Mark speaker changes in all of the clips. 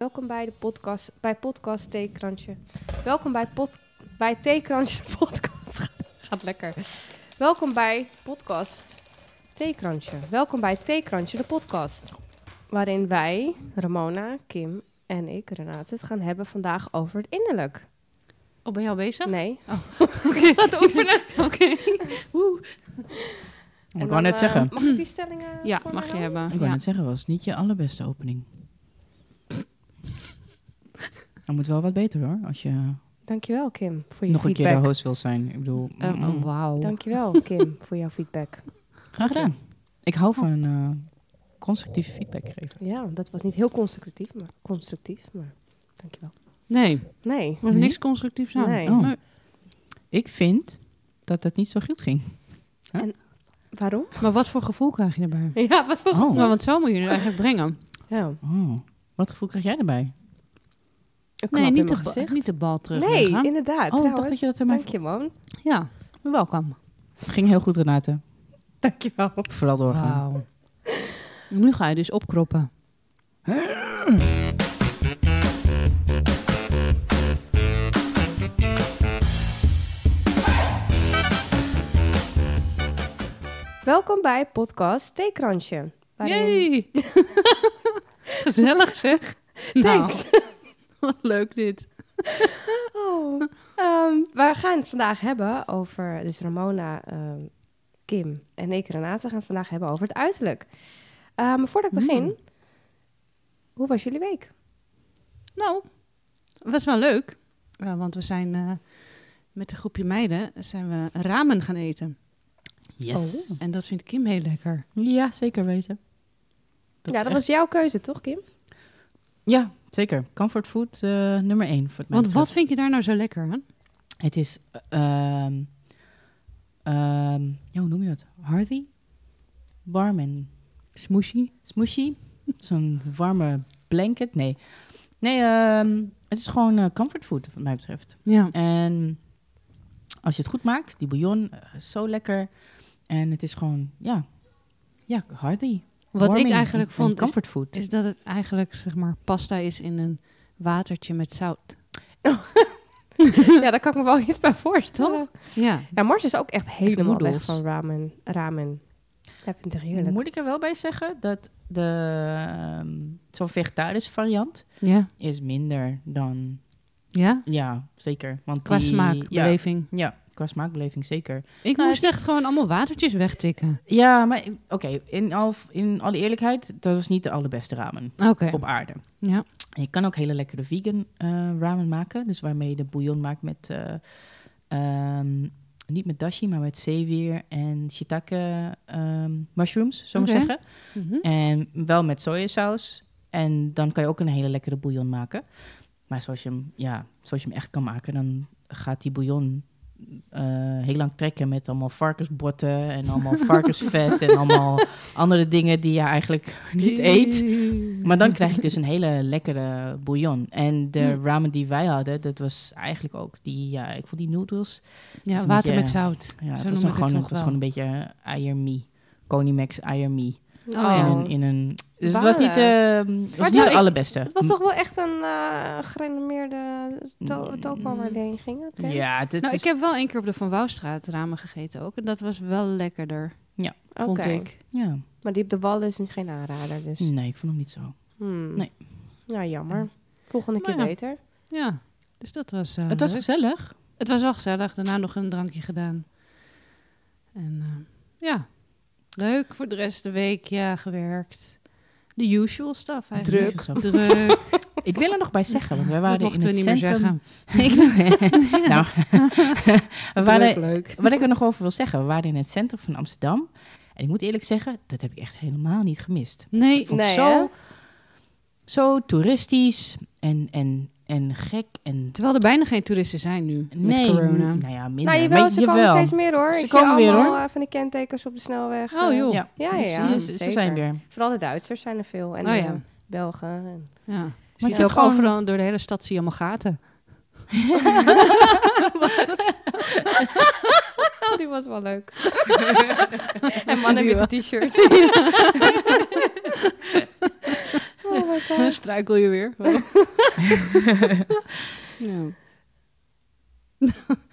Speaker 1: Welkom bij de podcast, bij podcast Theekransje. Welkom bij, pod, bij Theekransje de podcast. Gaat lekker. Welkom bij podcast Theekransje. Welkom bij Theekransje de podcast. Waarin wij, Ramona, Kim en ik, Renate, het gaan hebben vandaag over het innerlijk.
Speaker 2: Oh, ben je al bezig?
Speaker 1: Nee,
Speaker 2: Oké. Zat te oefenen. Oké.
Speaker 1: En
Speaker 3: Ik wou
Speaker 1: dan,
Speaker 3: net
Speaker 1: eh,
Speaker 3: zeggen.
Speaker 1: Mag ik die stellingen?
Speaker 2: Ja, mag je hebben.
Speaker 3: Ik wou
Speaker 2: Ja.
Speaker 3: net zeggen, was niet je allerbeste opening. Er moet wel wat beter hoor, als je
Speaker 1: Dankjewel, Kim, voor je
Speaker 3: nog een
Speaker 1: feedback.
Speaker 3: keer de host wil zijn. Ik bedoel,
Speaker 2: Eh,
Speaker 3: mm,
Speaker 2: oh, wauw.
Speaker 1: Dankjewel, Kim, voor jouw feedback.
Speaker 3: graag gedaan. Ik hou van eh, constructieve feedback geven.
Speaker 1: Ja, dat was niet heel constructief, maar constructief, maar dankjewel.
Speaker 2: Nee,
Speaker 1: Nee.
Speaker 2: er was
Speaker 3: Nee?
Speaker 2: niks constructiefs aan.
Speaker 1: Nee.
Speaker 3: Oh. Ik vind dat het niet zo goed ging.
Speaker 1: Waarom?
Speaker 2: Maar wat voor gevoel krijg je erbij?
Speaker 1: Ja, wat voor...
Speaker 2: Nou,
Speaker 3: Oh,
Speaker 2: want zo moet je nu eigenlijk brengen.
Speaker 1: Ja,
Speaker 3: oh. wat gevoel krijg jij erbij?
Speaker 1: een klap
Speaker 2: Nee,
Speaker 1: in
Speaker 2: niet de,
Speaker 1: mijn
Speaker 2: ba-
Speaker 1: gezicht.
Speaker 2: niet de bal terug.
Speaker 1: Nee,
Speaker 2: weggaan.
Speaker 1: inderdaad.
Speaker 3: Oh, ik dacht
Speaker 1: trouwens.
Speaker 3: dat je dat helemaal
Speaker 1: Dank je, man.
Speaker 2: Ja, welkom.
Speaker 3: Ging heel goed, Renate.
Speaker 1: Dank je wel.
Speaker 3: Vooral doorgaan.
Speaker 2: Wauw. Nu ga je dus opkroppen.
Speaker 1: Welkom bij podcast Theekransje. waarin-
Speaker 2: Jee! Gezellig zeg. Nou,
Speaker 1: Thanks.
Speaker 2: Wat leuk dit.
Speaker 1: Oh. Ehm, we gaan het vandaag hebben over, dus Ramona, ehm, Kim en ik, Renate, gaan het vandaag hebben over het uiterlijk. Eh, maar voordat ik begin, hoe was jullie week?
Speaker 2: Nou, was wel leuk. Eh, want we zijn eh, met een groepje meiden zijn we ramen gaan eten.
Speaker 3: Yes.
Speaker 2: En dat vindt Kim heel lekker.
Speaker 3: Ja, zeker weten.
Speaker 1: ja, dat
Speaker 3: is echt-
Speaker 1: was jouw keuze, toch, Kim?
Speaker 3: Ja, zeker. Comfort food eh, nummer één. Voor het mij
Speaker 2: Want
Speaker 3: betreft.
Speaker 2: wat vind je daar nou zo lekker aan?
Speaker 3: Het is, ehm, ehm, ja, hoe noem je dat? Hearthy? Warm en
Speaker 2: Smoesje.
Speaker 3: smooshy? Zo'n warme blanket? Nee. Nee, ehm, het is gewoon eh, comfort food, wat mij betreft.
Speaker 2: Ja.
Speaker 3: En als je het goed maakt, die bouillon, eh, is zo lekker. En het is gewoon, ja, ja hearthy.
Speaker 2: Wat ik
Speaker 3: warming
Speaker 2: eigenlijk
Speaker 3: en- en
Speaker 2: vond is,
Speaker 3: comfort food.
Speaker 2: is dat het eigenlijk zeg maar pasta is in een watertje met zout.
Speaker 1: ja, daar kan ik me wel iets bij voorstellen.
Speaker 2: Ja.
Speaker 1: Ja, Mars is ook echt helemaal weg
Speaker 2: noedels.
Speaker 1: van ramen. ramen. Hij vindt het heerlijk.
Speaker 3: Moet ik er wel bij zeggen dat de, ehm, zo'n vegetarische variant
Speaker 2: Ja.
Speaker 3: is minder dan
Speaker 2: Ja.
Speaker 3: Ja, zeker. Want
Speaker 2: Qua
Speaker 3: die- Ja,
Speaker 2: smaakbeleving.
Speaker 3: ja, qua smaakbeleving zeker.
Speaker 2: Ik
Speaker 3: Nou,
Speaker 2: moest echt gewoon allemaal watertjes wegtikken.
Speaker 3: Ja, maar ik- oké, in, al, in alle eerlijkheid, dat was niet de allerbeste ramen
Speaker 2: Oké.
Speaker 3: op aarde.
Speaker 2: Ja.
Speaker 3: En je kan ook hele lekkere vegan eh, ramen maken. Dus waarmee je de bouillon maakt met, eh, ehm, niet met dashi, maar met zeewier en shiitake ehm, mushrooms, zo maar
Speaker 2: Oké.
Speaker 3: zeggen.
Speaker 2: Mhm.
Speaker 3: En wel met sojasaus. En dan kan je ook een hele lekkere bouillon maken. Maar zoals je hem, ja, zoals je hem echt kan maken, dan gaat die bouillon eh, heel lang trekken met allemaal varkensbotten en allemaal varkensvet en allemaal andere dingen die je eigenlijk niet eet. Maar dan krijg je dus een hele lekkere bouillon. En de
Speaker 2: Mm.
Speaker 3: ramen die wij hadden, dat was eigenlijk ook die, ja, ik vond die noedels.
Speaker 2: Ja,
Speaker 3: Dus
Speaker 2: water
Speaker 3: moet je-
Speaker 2: met zout.
Speaker 3: Ja,
Speaker 2: Zo
Speaker 3: dat is
Speaker 2: noem
Speaker 3: dan
Speaker 2: ik
Speaker 3: gewoon,
Speaker 2: het
Speaker 3: dat
Speaker 2: toch
Speaker 3: was
Speaker 2: wel.
Speaker 3: gewoon een beetje eiermie. Konimax eiermie.
Speaker 2: Oh, ja.
Speaker 3: In, een- in een, dus het was
Speaker 1: Balen.
Speaker 3: niet, ehm, het was
Speaker 1: het
Speaker 3: niet
Speaker 1: was-
Speaker 3: het allerbeste.
Speaker 1: Het was toch wel echt een eh, gerenommeerde to-
Speaker 3: Mm.
Speaker 1: toko waar die heen gingen? Tent?
Speaker 3: Ja, het, het
Speaker 2: Nou,
Speaker 3: is-
Speaker 2: ik heb wel één keer op de Van Wouwstraat ramen gegeten ook. En dat was wel lekkerder,
Speaker 1: Oké.
Speaker 2: vond ik.
Speaker 3: ja.
Speaker 1: Maar die op de wal is niet geen aanrader, dus...
Speaker 3: Nee, ik vond hem niet zo.
Speaker 1: Hmm.
Speaker 3: Mm. Nee. Nou
Speaker 1: Ja, jammer. Volgende keer
Speaker 2: Maar ja.
Speaker 1: beter.
Speaker 2: Ja, dus dat was... eh,
Speaker 3: Het was
Speaker 2: leuk.
Speaker 3: gezellig.
Speaker 2: het was wel gezellig. Daarna nog een drankje gedaan. En eh, ja, leuk. Voor de rest de week, ja, gewerkt. The usual stuff eigenlijk.
Speaker 3: Druk.
Speaker 2: Druk.
Speaker 3: Ik wil er nog bij zeggen, want wij
Speaker 2: dat
Speaker 3: waren in
Speaker 2: mochten we
Speaker 3: het
Speaker 2: niet meer
Speaker 3: centrum.
Speaker 2: zeggen.
Speaker 3: Ik wil- nou, we
Speaker 2: Druk,
Speaker 3: waren,
Speaker 2: leuk.
Speaker 3: wat ik er nog over wil zeggen, we waren in het centrum van Amsterdam. En ik moet eerlijk zeggen, dat heb ik echt helemaal niet gemist.
Speaker 2: Nee,
Speaker 3: Ik vond
Speaker 1: Nee,
Speaker 3: het
Speaker 1: hè?
Speaker 3: zo, zo toeristisch en, en, en gek. En,
Speaker 2: terwijl er bijna geen toeristen zijn nu
Speaker 3: nee,
Speaker 2: met corona.
Speaker 3: nou ja, minder.
Speaker 1: Nou, jawel,
Speaker 3: Maar
Speaker 1: ze komen
Speaker 3: jawel.
Speaker 1: steeds meer hoor.
Speaker 3: Ze
Speaker 1: ik
Speaker 3: komen
Speaker 1: zie
Speaker 3: weer,
Speaker 1: allemaal
Speaker 3: hoor.
Speaker 1: eh, van die kentekens op de snelweg.
Speaker 2: Oh,
Speaker 1: eh.
Speaker 2: joh.
Speaker 3: Ja,
Speaker 1: Ja, ja,
Speaker 3: Dus,
Speaker 1: ja,
Speaker 3: eh, ze, ze
Speaker 1: zeker.
Speaker 3: zijn weer.
Speaker 1: Vooral de Duitsers zijn er veel. En
Speaker 2: Oh,
Speaker 1: de
Speaker 2: ja.
Speaker 1: Belgen. En...
Speaker 2: Ja. Maar
Speaker 3: Maar
Speaker 2: je
Speaker 3: het
Speaker 2: ook
Speaker 3: gewoon-
Speaker 2: overal door de hele stad zie je allemaal gaten.
Speaker 1: Oh, die was wel leuk. en mannen
Speaker 2: Die
Speaker 1: met de t-shirts. oh, wat
Speaker 2: Struikel je weer.
Speaker 3: Oh.
Speaker 2: nou.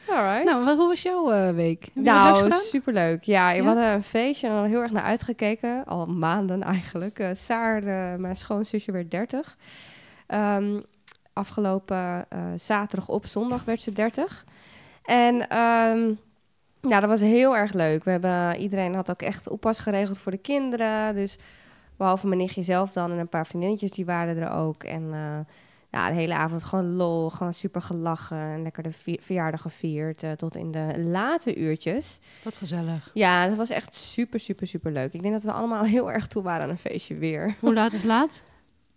Speaker 1: Alright.
Speaker 2: nou, wat- hoe was jouw eh, week? Heb je wat leuks
Speaker 1: Nou,
Speaker 2: gedaan?
Speaker 1: superleuk. Ja, we
Speaker 2: Ja?
Speaker 1: hadden een feestje en we hadden heel erg naar uitgekeken. Al maanden eigenlijk. Eh, Saar, eh, mijn schoonzusje, werd 30. Ehm, afgelopen eh, zaterdag op zondag werd ze 30. En ehm ja, dat was heel erg leuk. We hebben, eh, iedereen had ook echt oppas geregeld voor de kinderen. Dus behalve mijn nichtje zelf dan en een paar vriendinnetjes, die waren er ook. En eh, ja, de hele avond gewoon lol, gewoon super gelachen en lekker de vi- verjaardag gevierd eh, tot in de late uurtjes.
Speaker 2: Wat gezellig.
Speaker 1: Ja, dat was echt super, super, super leuk. Ik denk dat we allemaal heel erg toe waren aan een feestje weer.
Speaker 2: Hoe laat is laat?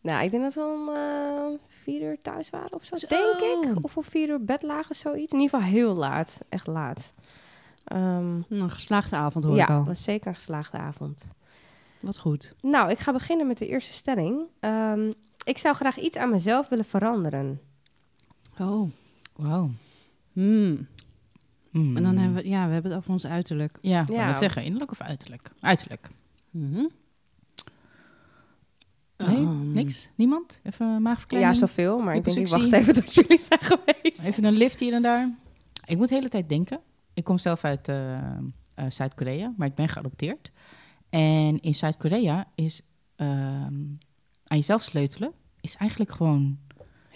Speaker 1: Nou, ik denk dat we om eh, vier uur thuis waren of zo,
Speaker 2: Zo.
Speaker 1: denk ik. Of om vier uur bed lagen, zoiets. In ieder geval heel laat, echt laat. Ehm,
Speaker 2: Een geslaagde avond hoor
Speaker 1: ja,
Speaker 2: ik al.
Speaker 1: was zeker een geslaagde avond.
Speaker 2: Wat goed.
Speaker 1: Nou, ik ga beginnen met de eerste stelling. Ehm, ik zou graag iets aan mezelf willen veranderen.
Speaker 2: Oh.
Speaker 3: Wauw.
Speaker 2: Hmm.
Speaker 3: Hmm.
Speaker 2: En dan hebben we, ja, we hebben het over ons uiterlijk.
Speaker 3: Ja, ik
Speaker 1: Ja.
Speaker 3: wou net zeggen. Innerlijk of uiterlijk? Uiterlijk.
Speaker 2: Mhm.
Speaker 3: Nee,
Speaker 2: Ehm,
Speaker 3: niks? Niemand? Even een
Speaker 1: Mm. Ja,
Speaker 3: maagverkleining?
Speaker 1: zoveel, maar ik denk ik wacht
Speaker 3: Liposuctie.
Speaker 1: even tot jullie zijn geweest.
Speaker 3: Even een lift hier en daar. Ik moet de hele tijd denken. Ik kom zelf uit eh, eh, Zuid-Korea, maar ik ben geadopteerd. En in Zuid-Korea is ehm, aan jezelf sleutelen... is eigenlijk gewoon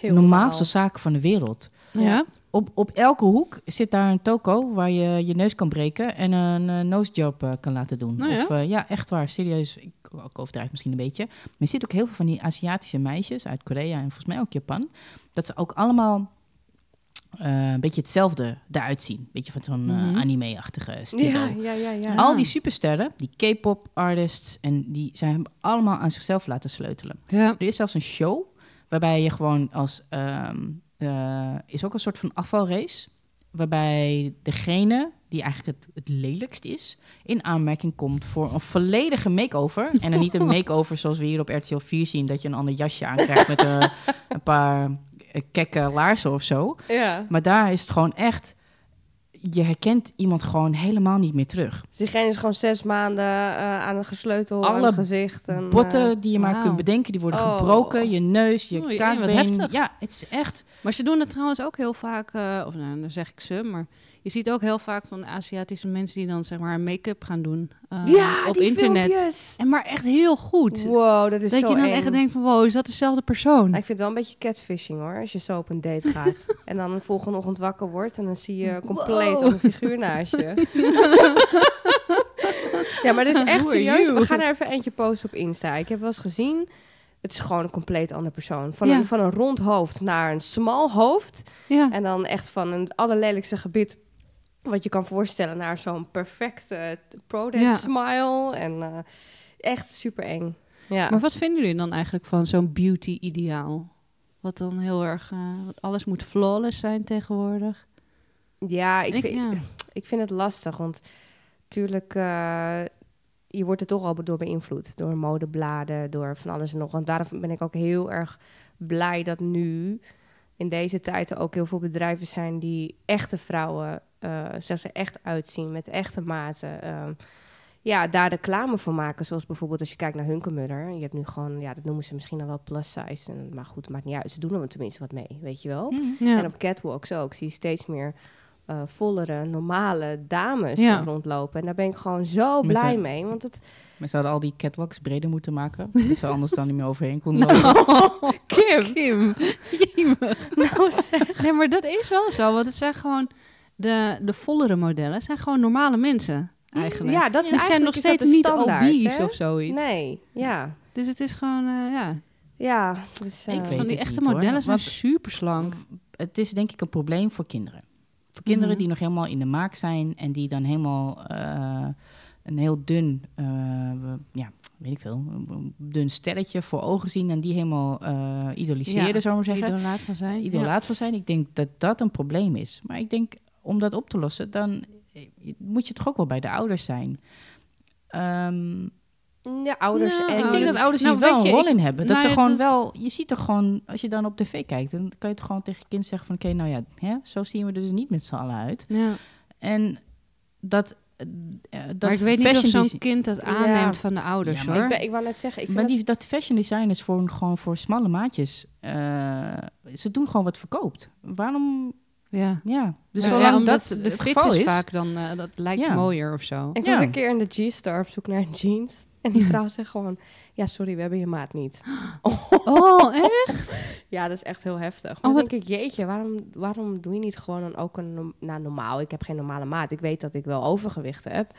Speaker 3: de normaalste zaak van de wereld.
Speaker 2: Ja?
Speaker 3: Op, op elke hoek zit daar een toko waar je je neus kan breken... en een eh, nosejob eh, kan laten doen.
Speaker 2: Nou ja.
Speaker 3: Of, eh, ja, echt waar, serieus. Ik, ik overdrijf misschien een beetje. Maar je ziet ook heel veel van die Aziatische meisjes... uit Korea en volgens mij ook Japan... dat ze ook allemaal eh, een beetje hetzelfde eruit zien. Een beetje van zo'n eh,
Speaker 2: Mhm.
Speaker 3: anime-achtige stilo.
Speaker 1: Ja, ja, ja, ja.
Speaker 2: Ah.
Speaker 3: Al die supersterren, die K-pop artists... en die zijn allemaal aan zichzelf laten sleutelen.
Speaker 2: Ja.
Speaker 3: Er is zelfs een show waarbij je gewoon als... ehm, eh, is ook een soort van afvalrace... waarbij degene die eigenlijk het, het lelijkst is... in aanmerking komt voor een volledige makeover. En dan niet een makeover zoals we hier op RTL 4 zien... dat je een ander jasje aankrijgt met eh, een paar eh, kekke laarzen of zo.
Speaker 1: ja.
Speaker 3: Maar daar is het gewoon echt... je herkent iemand gewoon helemaal niet meer terug.
Speaker 1: Dus diegene is gewoon zes maanden eh, aan het gesleutel, aan
Speaker 3: Alle
Speaker 1: het gezicht. En, eh,
Speaker 3: Botten die je maar
Speaker 2: wauw.
Speaker 3: kunt bedenken, die worden
Speaker 1: Oh.
Speaker 3: gebroken. Je neus, je
Speaker 2: Oei, wat
Speaker 3: kaakbeen.
Speaker 2: heftig.
Speaker 3: Ja, het is echt...
Speaker 2: Maar ze doen het trouwens ook heel vaak, eh, of nou, dan zeg ik ze, maar je ziet ook heel vaak van Aziatische mensen die dan zeg maar make-up gaan doen eh,
Speaker 1: ja,
Speaker 2: op
Speaker 1: die
Speaker 2: internet.
Speaker 1: filmpjes.
Speaker 2: En maar echt heel goed.
Speaker 1: Wow, dat is
Speaker 2: dat
Speaker 1: zo
Speaker 2: je dan
Speaker 1: eng.
Speaker 2: echt denkt van, wow, is dat dezelfde persoon?
Speaker 1: Nou, ik vind het wel een beetje catfishing hoor, als je zo op een date gaat. en dan de volgende ochtend wakker wordt en dan zie je compleet
Speaker 2: Wow.
Speaker 1: een figuur naast je. ja, maar dit is echt
Speaker 2: Who are
Speaker 1: serieus.
Speaker 2: you?
Speaker 1: We gaan er even eentje posten op Insta. Ik heb wel eens gezien, het is gewoon een compleet andere persoon. Van,
Speaker 2: Ja. Ah.
Speaker 1: een, van een rond hoofd naar een smal hoofd.
Speaker 2: ja.
Speaker 1: En dan echt van een allerlelijkste gebied wat je kan voorstellen naar zo'n perfecte product
Speaker 2: Ja.
Speaker 1: smile. En eh, echt super eng. Ja.
Speaker 2: Maar wat vinden jullie dan eigenlijk van zo'n beauty-ideaal? Wat dan heel erg, eh, want alles moet flawless zijn tegenwoordig.
Speaker 1: ja, ik,
Speaker 2: Ik-
Speaker 1: vind,
Speaker 2: ja.
Speaker 1: ik vind het lastig, want natuurlijk, eh, je wordt er toch al door beïnvloed. Door modebladen, door van alles en nog. Want daarom ben ik ook heel erg blij dat nu in deze tijd er ook heel veel bedrijven zijn die echte vrouwen, eh zoals ze echt uitzien, met echte maten. ehm, ja, daar reclame voor maken. Zoals bijvoorbeeld als je kijkt naar Hunkemuller. Je hebt nu gewoon, ja, dat noemen ze misschien dan wel plus size. En, maar goed, maakt niet uit. Ze doen er tenminste wat mee, weet je wel.
Speaker 3: Mm.
Speaker 2: Ja.
Speaker 1: En op catwalks ook. Zie je steeds meer eh, vollere, normale dames
Speaker 2: Ja.
Speaker 1: rondlopen. En daar ben ik gewoon zo
Speaker 3: Met
Speaker 1: blij
Speaker 3: een-
Speaker 1: mee. Want het
Speaker 3: Maar zouden al die catwalks breder moeten maken? Dat ze anders dan niet meer overheen konden.
Speaker 2: Kim! Jemig.
Speaker 1: nou zeg.
Speaker 2: Nee, maar dat is wel zo, want het zijn gewoon de, de vollere modellen, zijn gewoon normale mensen eigenlijk.
Speaker 1: Mm, Ja, dat is
Speaker 2: Ze zijn
Speaker 1: eigenlijk
Speaker 2: nog
Speaker 1: is
Speaker 2: steeds
Speaker 1: dat de
Speaker 2: niet
Speaker 1: standaard,
Speaker 2: obese
Speaker 1: hè?
Speaker 2: of zoiets.
Speaker 1: Nee, ja.
Speaker 2: Dus het is gewoon, eh, ja.
Speaker 1: Ja, dus... eh,
Speaker 3: Ik weet-
Speaker 2: Van die
Speaker 3: het
Speaker 2: echte
Speaker 3: niet, hoor.
Speaker 2: modellen zijn
Speaker 3: Want-
Speaker 2: super slank.
Speaker 3: het is denk ik een probleem voor kinderen. Voor kinderen
Speaker 2: Mhm.
Speaker 3: die nog helemaal in de maak zijn en die dan helemaal eh, een heel dun, eh, ja, weet ik veel, een dun sterretje voor ogen zien en die helemaal eh idoliseren,
Speaker 2: Ja,
Speaker 3: zou ik maar zeggen.
Speaker 2: Idolaat gaan zijn. ja.
Speaker 3: idolaat van zijn. Ik denk dat dat een probleem is. Maar ik denk, om dat op te lossen, dan eh, moet je toch ook wel bij de ouders zijn. Ehm,
Speaker 1: ja, ouders
Speaker 2: Nou,
Speaker 1: en...
Speaker 3: ik denk dat ouders
Speaker 2: Nou,
Speaker 3: hier wel
Speaker 2: weet
Speaker 3: een
Speaker 2: je,
Speaker 3: rol
Speaker 2: ik-
Speaker 3: in hebben. Dat
Speaker 2: nou
Speaker 3: ze
Speaker 2: ja, dat-
Speaker 3: gewoon wel... Je ziet toch gewoon, als je dan op tv kijkt... dan kan je toch gewoon tegen je kind zeggen van... oké, nou ja, hè, zo zien we er dus niet met z'n allen uit.
Speaker 2: Ja.
Speaker 3: En dat eh, eh, dat
Speaker 2: maar ik weet niet of
Speaker 3: fashion
Speaker 2: zo'n
Speaker 3: desi-
Speaker 2: kind dat
Speaker 1: Ja.
Speaker 2: aanneemt van de ouders,
Speaker 3: Ja, maar
Speaker 2: hoor.
Speaker 1: Ik, ben, ik wou net zeggen, ik
Speaker 3: Maar
Speaker 1: vind
Speaker 3: die, dat fashion design is voor, gewoon voor smalle maatjes. Eh, ze doen gewoon wat verkoopt. Waarom?
Speaker 2: Ja.
Speaker 3: Ja. Dus
Speaker 2: Ja,
Speaker 3: zolang
Speaker 2: ja, omdat
Speaker 3: dat
Speaker 2: de
Speaker 3: het
Speaker 2: fit
Speaker 3: geval
Speaker 2: is,
Speaker 3: is,
Speaker 2: vaak dan, eh, dat lijkt
Speaker 3: Ja.
Speaker 2: mooier of zo.
Speaker 1: dat- ik
Speaker 3: ja.
Speaker 1: was een keer in de G-Star op zoek naar jeans. En die vrouw zegt gewoon, ja, sorry, we hebben je maat niet.
Speaker 2: Oh, echt?
Speaker 1: Ja, dat is echt heel heftig. Maar
Speaker 2: Oh,
Speaker 1: dan
Speaker 2: wat-
Speaker 1: denk ik, jeetje, waarom, waarom doe je niet gewoon dan ook een norm- nou, normaal? Ik heb geen normale maat. Ik weet dat ik wel overgewicht heb.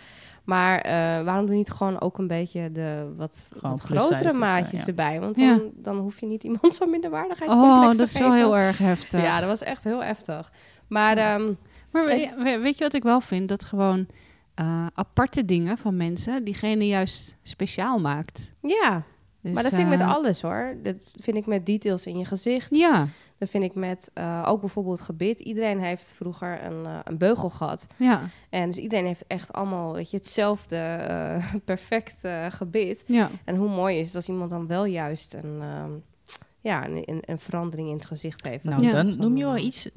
Speaker 1: Maar eh, waarom doe je niet gewoon ook een beetje de wat,
Speaker 3: Gewoon
Speaker 1: wat
Speaker 3: plus
Speaker 1: grotere
Speaker 3: sizes,
Speaker 1: maatjes
Speaker 3: ja.
Speaker 1: erbij? Want dan,
Speaker 2: Ja.
Speaker 1: dan hoef je niet iemand zo'n minderwaardigheidscomplex
Speaker 2: Oh,
Speaker 1: te
Speaker 2: dat is wel
Speaker 1: geven.
Speaker 2: heel erg heftig.
Speaker 1: Ja, dat was echt heel heftig. Maar ehm,
Speaker 2: Maar we- we- weet je wat ik wel vind? Dat gewoon eh, aparte dingen van mensen diegene juist speciaal maakt.
Speaker 1: ja,
Speaker 2: Dus,
Speaker 1: maar dat vind ik met
Speaker 2: eh,
Speaker 1: alles hoor. Dat vind ik met details in je gezicht.
Speaker 2: Ja,
Speaker 1: Dat vind ik met eh, ook bijvoorbeeld gebit. Iedereen heeft vroeger een, eh, een beugel gehad.
Speaker 2: ja,
Speaker 1: En dus iedereen heeft echt allemaal weet je, hetzelfde eh, perfect eh, gebit.
Speaker 2: ja.
Speaker 1: En hoe mooi is het als iemand dan wel juist een, ehm, ja, een, een, een verandering in het gezicht heeft.
Speaker 3: Nou,
Speaker 2: Ja.
Speaker 3: dan noem je wel iets.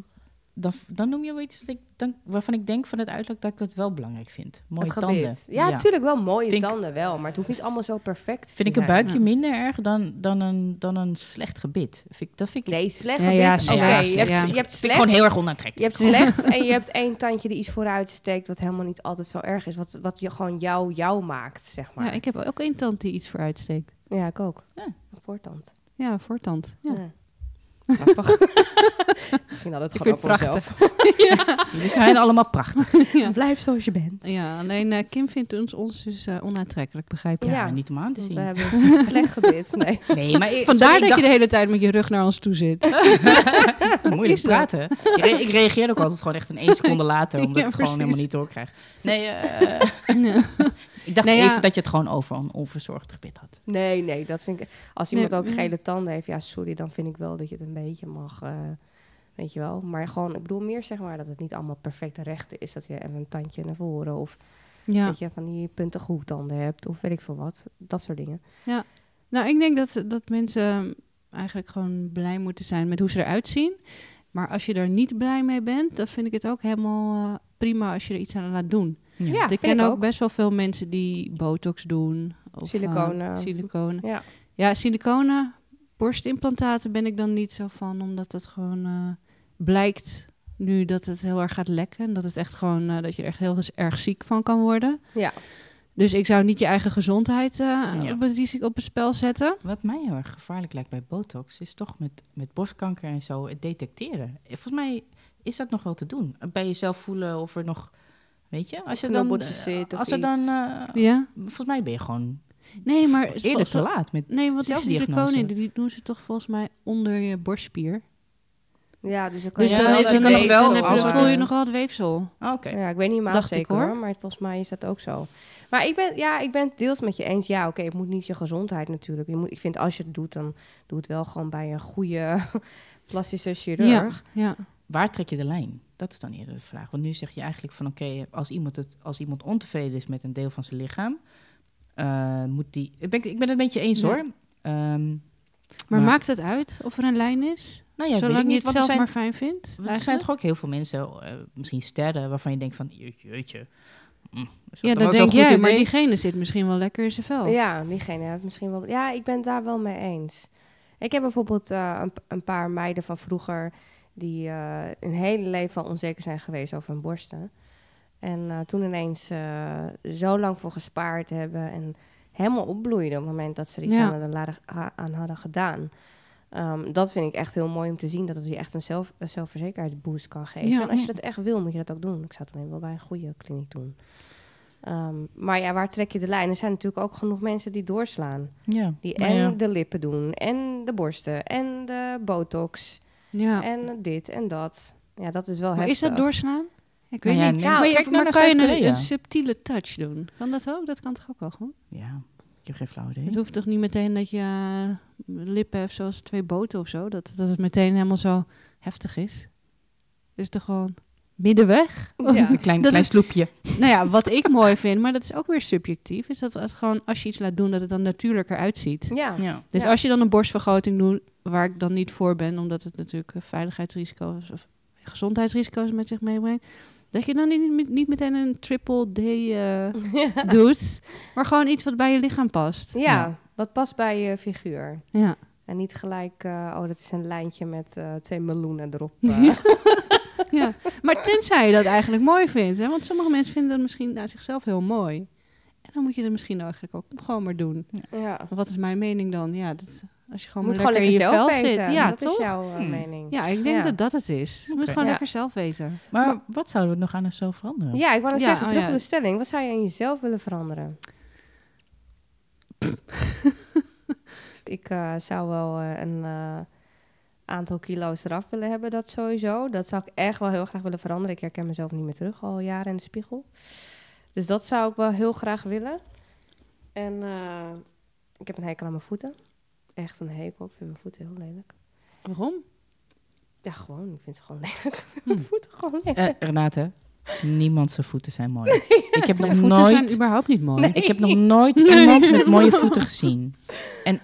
Speaker 3: Dan, dan noem je wel iets dat ik, dan, waarvan ik denk van het uiterlijk dat ik dat wel belangrijk vind. Mooie
Speaker 1: Het
Speaker 3: tanden.
Speaker 1: gebit. Ja, natuurlijk wel mooie
Speaker 3: Vind ik-
Speaker 1: tanden wel. Maar het hoeft niet allemaal zo perfect
Speaker 3: Vind ik
Speaker 1: te
Speaker 3: een
Speaker 1: zijn.
Speaker 3: buikje minder erg dan, dan, een, dan een slecht gebit. Vind ik, dat vind ik,
Speaker 1: Nee, slecht
Speaker 2: Ja,
Speaker 1: gebit.
Speaker 2: ja,
Speaker 1: Oké,
Speaker 3: slecht.
Speaker 1: je, hebt,
Speaker 2: Ja.
Speaker 1: je hebt
Speaker 3: vind ik
Speaker 1: slecht.
Speaker 3: gewoon heel erg
Speaker 1: Je
Speaker 3: onaantrekkelijk.
Speaker 1: hebt slecht en je hebt één tandje die iets vooruit steekt... wat helemaal niet altijd zo erg is. Wat, wat je gewoon jou jou maakt, zeg maar.
Speaker 2: ja, ik heb ook één tand die iets voor uitsteekt.
Speaker 1: Ja, ik ook.
Speaker 3: Ja.
Speaker 1: Een voortand.
Speaker 2: Ja, een voortand. Ja.
Speaker 1: Ja. Grappig. Misschien had het
Speaker 2: Ik
Speaker 1: gewoon
Speaker 2: vind
Speaker 1: over
Speaker 2: het
Speaker 1: mezelf.
Speaker 3: Jullie zijn allemaal prachtig.
Speaker 2: Ja.
Speaker 1: Blijf zoals je bent.
Speaker 2: Ja, alleen eh, Kim vindt ons, ons dus eh, onaantrekkelijk, begrijp je?
Speaker 1: Ja.
Speaker 3: Ja, niet om aan te
Speaker 1: Want
Speaker 3: zien.
Speaker 1: we hebben een slecht gebit. Nee.
Speaker 3: Nee, maar ik-
Speaker 2: Vandaar
Speaker 3: sorry,
Speaker 2: dat
Speaker 3: ik
Speaker 2: je de hele tijd met je rug naar ons toe zit.
Speaker 3: dacht, moeilijk
Speaker 2: Is dat?
Speaker 3: praten. Ik, re- ik reageerde ook altijd gewoon echt een één seconde later, omdat
Speaker 2: Ja,
Speaker 3: ik het
Speaker 2: precies.
Speaker 3: gewoon helemaal niet doorkrijg. Nee, eh,
Speaker 2: Ja.
Speaker 3: ik dacht
Speaker 2: Nee, ja.
Speaker 3: even dat je het gewoon over een onverzorgd gebit had.
Speaker 1: nee, nee, dat vind ik. Als iemand
Speaker 2: Nee,
Speaker 1: ook
Speaker 2: mm.
Speaker 1: gele tanden heeft, ja, sorry, dan vind ik wel dat je het een beetje mag. eh, weet je wel. Maar gewoon, ik bedoel meer zeg maar dat het niet allemaal perfect recht is. Dat je even een tandje naar voren of
Speaker 2: ja.
Speaker 1: dat je van die puntige hoektanden hebt of weet ik veel wat. Dat soort dingen.
Speaker 2: Nou, ik denk dat, dat mensen eigenlijk gewoon blij moeten zijn met hoe ze eruit zien. Maar als je er niet blij mee bent, dan vind ik het ook helemaal eh, prima als je er iets aan laat doen.
Speaker 1: Ja,
Speaker 2: Want ik
Speaker 1: vind
Speaker 2: ken
Speaker 1: ik
Speaker 2: ook.
Speaker 1: ook.
Speaker 2: best wel veel mensen die botox doen. Of, eh,
Speaker 1: Siliconen.
Speaker 2: siliconen.
Speaker 1: Ja.
Speaker 2: Ja, siliconen, borstimplantaten ben ik dan niet zo van, omdat dat gewoon eh, blijkt nu dat het heel erg gaat lekken. En dat het echt gewoon, eh, dat je er echt heel eens erg ziek van kan worden.
Speaker 1: Ja.
Speaker 2: Dus ik zou niet je eigen gezondheid eh,
Speaker 3: Ja.
Speaker 2: op, het, risico- op het spel zetten.
Speaker 3: Wat mij heel erg gevaarlijk lijkt bij botox is toch met, met borstkanker en zo het detecteren. Eh, Volgens mij is dat nog wel te doen. Bij jezelf voelen of er nog, weet je, als je dan,
Speaker 1: Knobbeltjes zit of
Speaker 3: als er
Speaker 1: iets.
Speaker 3: dan, eh,
Speaker 2: Ja.
Speaker 3: volgens mij ben je gewoon
Speaker 2: Nou, Nee, maar
Speaker 3: eerder te laat met
Speaker 2: Nee, want die
Speaker 3: zelfdiagnose.
Speaker 2: siliconen die doen ze toch volgens mij onder je borstspier.
Speaker 1: Ja, dus dan kan
Speaker 2: Dus
Speaker 1: je
Speaker 2: dan,
Speaker 1: wel
Speaker 2: is
Speaker 1: dat
Speaker 2: er nog,
Speaker 3: dan
Speaker 1: weefsel
Speaker 3: wel-
Speaker 2: dan, heb je,
Speaker 1: als
Speaker 2: dan
Speaker 1: het
Speaker 2: voel
Speaker 1: is.
Speaker 2: je nog wel het weefsel.
Speaker 3: Ah, Oké.
Speaker 1: Ja, ik weet niet helemaal
Speaker 2: Dacht ik,
Speaker 1: zeker
Speaker 2: hoor.
Speaker 1: hoor. Maar volgens mij is dat ook zo. Maar ik ben, ja, ik ben het deels met je eens. Ja, oké, het moet niet je gezondheid natuurlijk. Je moet, ik vind als je het doet, dan doe het wel gewoon bij een goede plastische
Speaker 2: Ja,
Speaker 1: chirurg.
Speaker 2: ja.
Speaker 3: waar trek je de lijn? Dat is dan eerder de vraag. Want nu zeg je eigenlijk van oké, als, iemand het, als iemand ontevreden is met een deel van zijn lichaam, eh, moet die. Ik ben, ik ben het een beetje eens
Speaker 2: Ja.
Speaker 3: hoor. Ehm,
Speaker 2: Maar
Speaker 3: Maar-
Speaker 2: maakt het uit of er een lijn is?
Speaker 3: nou ja, weet ik
Speaker 2: Zolang je
Speaker 3: niet,
Speaker 2: het
Speaker 3: want
Speaker 2: zelf
Speaker 3: er zijn,
Speaker 2: maar fijn vindt.
Speaker 3: want Er zijn toch ook heel veel mensen, eh, misschien sterren, waarvan je denkt van je- jeetje. mm, is
Speaker 2: Ja,
Speaker 3: dan wel
Speaker 2: dat
Speaker 3: zo'n
Speaker 2: denk
Speaker 3: goed
Speaker 2: jij, maar
Speaker 3: idee?
Speaker 2: diegene zit misschien wel lekker in zijn vel.
Speaker 1: Ja, diegene heeft misschien wel. Ja, ik ben het daar wel mee eens. Ik heb bijvoorbeeld eh, een, een paar meiden van vroeger die eh, hun hele leven al onzeker zijn geweest over hun borsten. En eh, toen ineens eh, zo lang voor gespaard hebben en helemaal opbloeiden op het moment dat ze er iets
Speaker 2: Ja.
Speaker 1: aan, hadden laden- ha- aan hadden gedaan. Ehm, dat vind ik echt heel mooi om te zien, dat het je echt een, zelf, een zelfverzekerheidsboost kan geven.
Speaker 2: Ja.
Speaker 1: en als je dat echt wil, moet je dat ook doen. Ik zou het alleen wel bij een goede kliniek doen. Ehm, maar ja, waar trek je de lijn? Er zijn natuurlijk ook genoeg mensen die doorslaan.
Speaker 3: Ja,
Speaker 1: Die
Speaker 3: maar
Speaker 1: en
Speaker 3: ja.
Speaker 1: de lippen doen, en de borsten, en de botox,
Speaker 2: Ja.
Speaker 1: en dit en dat. Ja, dat is wel
Speaker 2: Maar
Speaker 1: heftig.
Speaker 2: is dat doorslaan? Ik
Speaker 3: Nou
Speaker 2: weet
Speaker 3: ja,
Speaker 2: niet.
Speaker 3: nee,
Speaker 1: maar
Speaker 2: maar je-
Speaker 3: kijk nou
Speaker 2: maar
Speaker 3: naar
Speaker 2: kan je een,
Speaker 3: Zuid-Korea.
Speaker 2: een subtiele touch doen? Kan dat ook? Dat kan toch ook wel gewoon?
Speaker 3: Ja, ik heb geen flauw idee.
Speaker 2: Het hoeft toch niet meteen dat je eh, lippen hebt zoals twee boten of zo? Dat, dat het meteen helemaal zo heftig is? Het is toch gewoon middenweg?
Speaker 1: Ja.
Speaker 3: Een klein,
Speaker 2: Dat
Speaker 3: klein
Speaker 2: is-
Speaker 3: sloepje.
Speaker 2: nou ja, wat ik mooi vind, maar dat is ook weer subjectief, is dat het gewoon als je iets laat doen, dat het dan natuurlijker uitziet.
Speaker 1: ja.
Speaker 3: Ja.
Speaker 2: Dus
Speaker 1: Ja.
Speaker 2: als je dan een borstvergroting doet, waar ik dan niet voor ben, omdat het natuurlijk eh, veiligheidsrisico's of gezondheidsrisico's met zich meebrengt, Dat je dan niet, niet- niet meteen een triple D eh, doet, maar gewoon iets wat bij je lichaam past.
Speaker 1: Ja, wat past bij je figuur.
Speaker 2: Ja.
Speaker 1: En niet gelijk, eh, oh, dat is een lijntje met eh, twee meloenen erop. eh.
Speaker 2: ja. Maar tenzij je dat eigenlijk mooi vindt, hè? want sommige mensen vinden dat misschien aan zichzelf heel mooi. En dan moet je dat misschien eigenlijk ook gewoon maar doen.
Speaker 1: ja.
Speaker 2: Maar Wat is mijn mening dan? Ja, dat, als je
Speaker 1: Je
Speaker 2: gewoon
Speaker 1: moet
Speaker 2: maar
Speaker 1: gewoon
Speaker 2: lekker
Speaker 1: lekker
Speaker 2: in je
Speaker 1: zelf
Speaker 2: vel
Speaker 1: weten.
Speaker 2: zit. Ja,
Speaker 1: dat
Speaker 2: toch?
Speaker 1: is jouw eh,
Speaker 3: Hmm.
Speaker 1: mening.
Speaker 2: Ja, ik denk
Speaker 1: Ja.
Speaker 2: dat dat het is. Je moet
Speaker 3: Oké.
Speaker 2: gewoon
Speaker 1: Ja.
Speaker 2: lekker zelf weten.
Speaker 3: Maar, wat zouden we nog aan onszelf veranderen?
Speaker 1: Ja, ik wou net
Speaker 2: Ja,
Speaker 1: zeggen,
Speaker 2: oh
Speaker 1: terug
Speaker 2: ja.
Speaker 1: op de stelling. Wat zou je aan jezelf willen veranderen? ik eh, zou wel eh, een eh, aantal kilo's eraf willen hebben, dat sowieso. Dat zou ik echt wel heel graag willen veranderen. Ik herken mezelf niet meer terug, al jaren in de spiegel. Dus dat zou ik wel heel graag willen. En eh, ik heb een hekel aan mijn voeten. Echt een hekel. Ik vind mijn voeten heel lelijk.
Speaker 2: Waarom?
Speaker 1: Ja, gewoon. Ik vind ze gewoon lelijk. Ik vind mijn voeten gewoon lelijk.
Speaker 3: Eh, Renate, niemand zijn voeten zijn mooi. Ik heb nog
Speaker 2: Voeten zijn
Speaker 3: nooit,
Speaker 2: überhaupt niet mooi.
Speaker 3: ik heb nog nooit iemand met mooie voeten gezien. En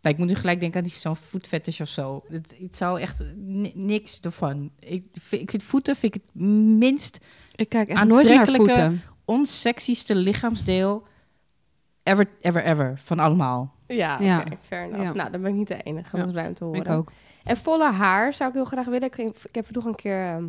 Speaker 3: nou, ik moet nu gelijk denken aan die- zo'n voetfetish of zo. Het, het zou echt ni- niks ervan. Ik, vind- ik vind voeten vind ik het minst
Speaker 2: Ik kijk
Speaker 3: echt nooit naar onsexieste lichaamsdeel ever, ever, ever van allemaal.
Speaker 1: Ja,
Speaker 2: Ja.
Speaker 1: oké, fair enough.
Speaker 2: Ja.
Speaker 1: Nou, dan ben ik niet de enige. Dat
Speaker 2: Ja.
Speaker 1: is ruim te horen.
Speaker 2: Ik ook.
Speaker 1: En volle haar zou ik heel graag willen. Ik, ik heb vroeger een keer ehm,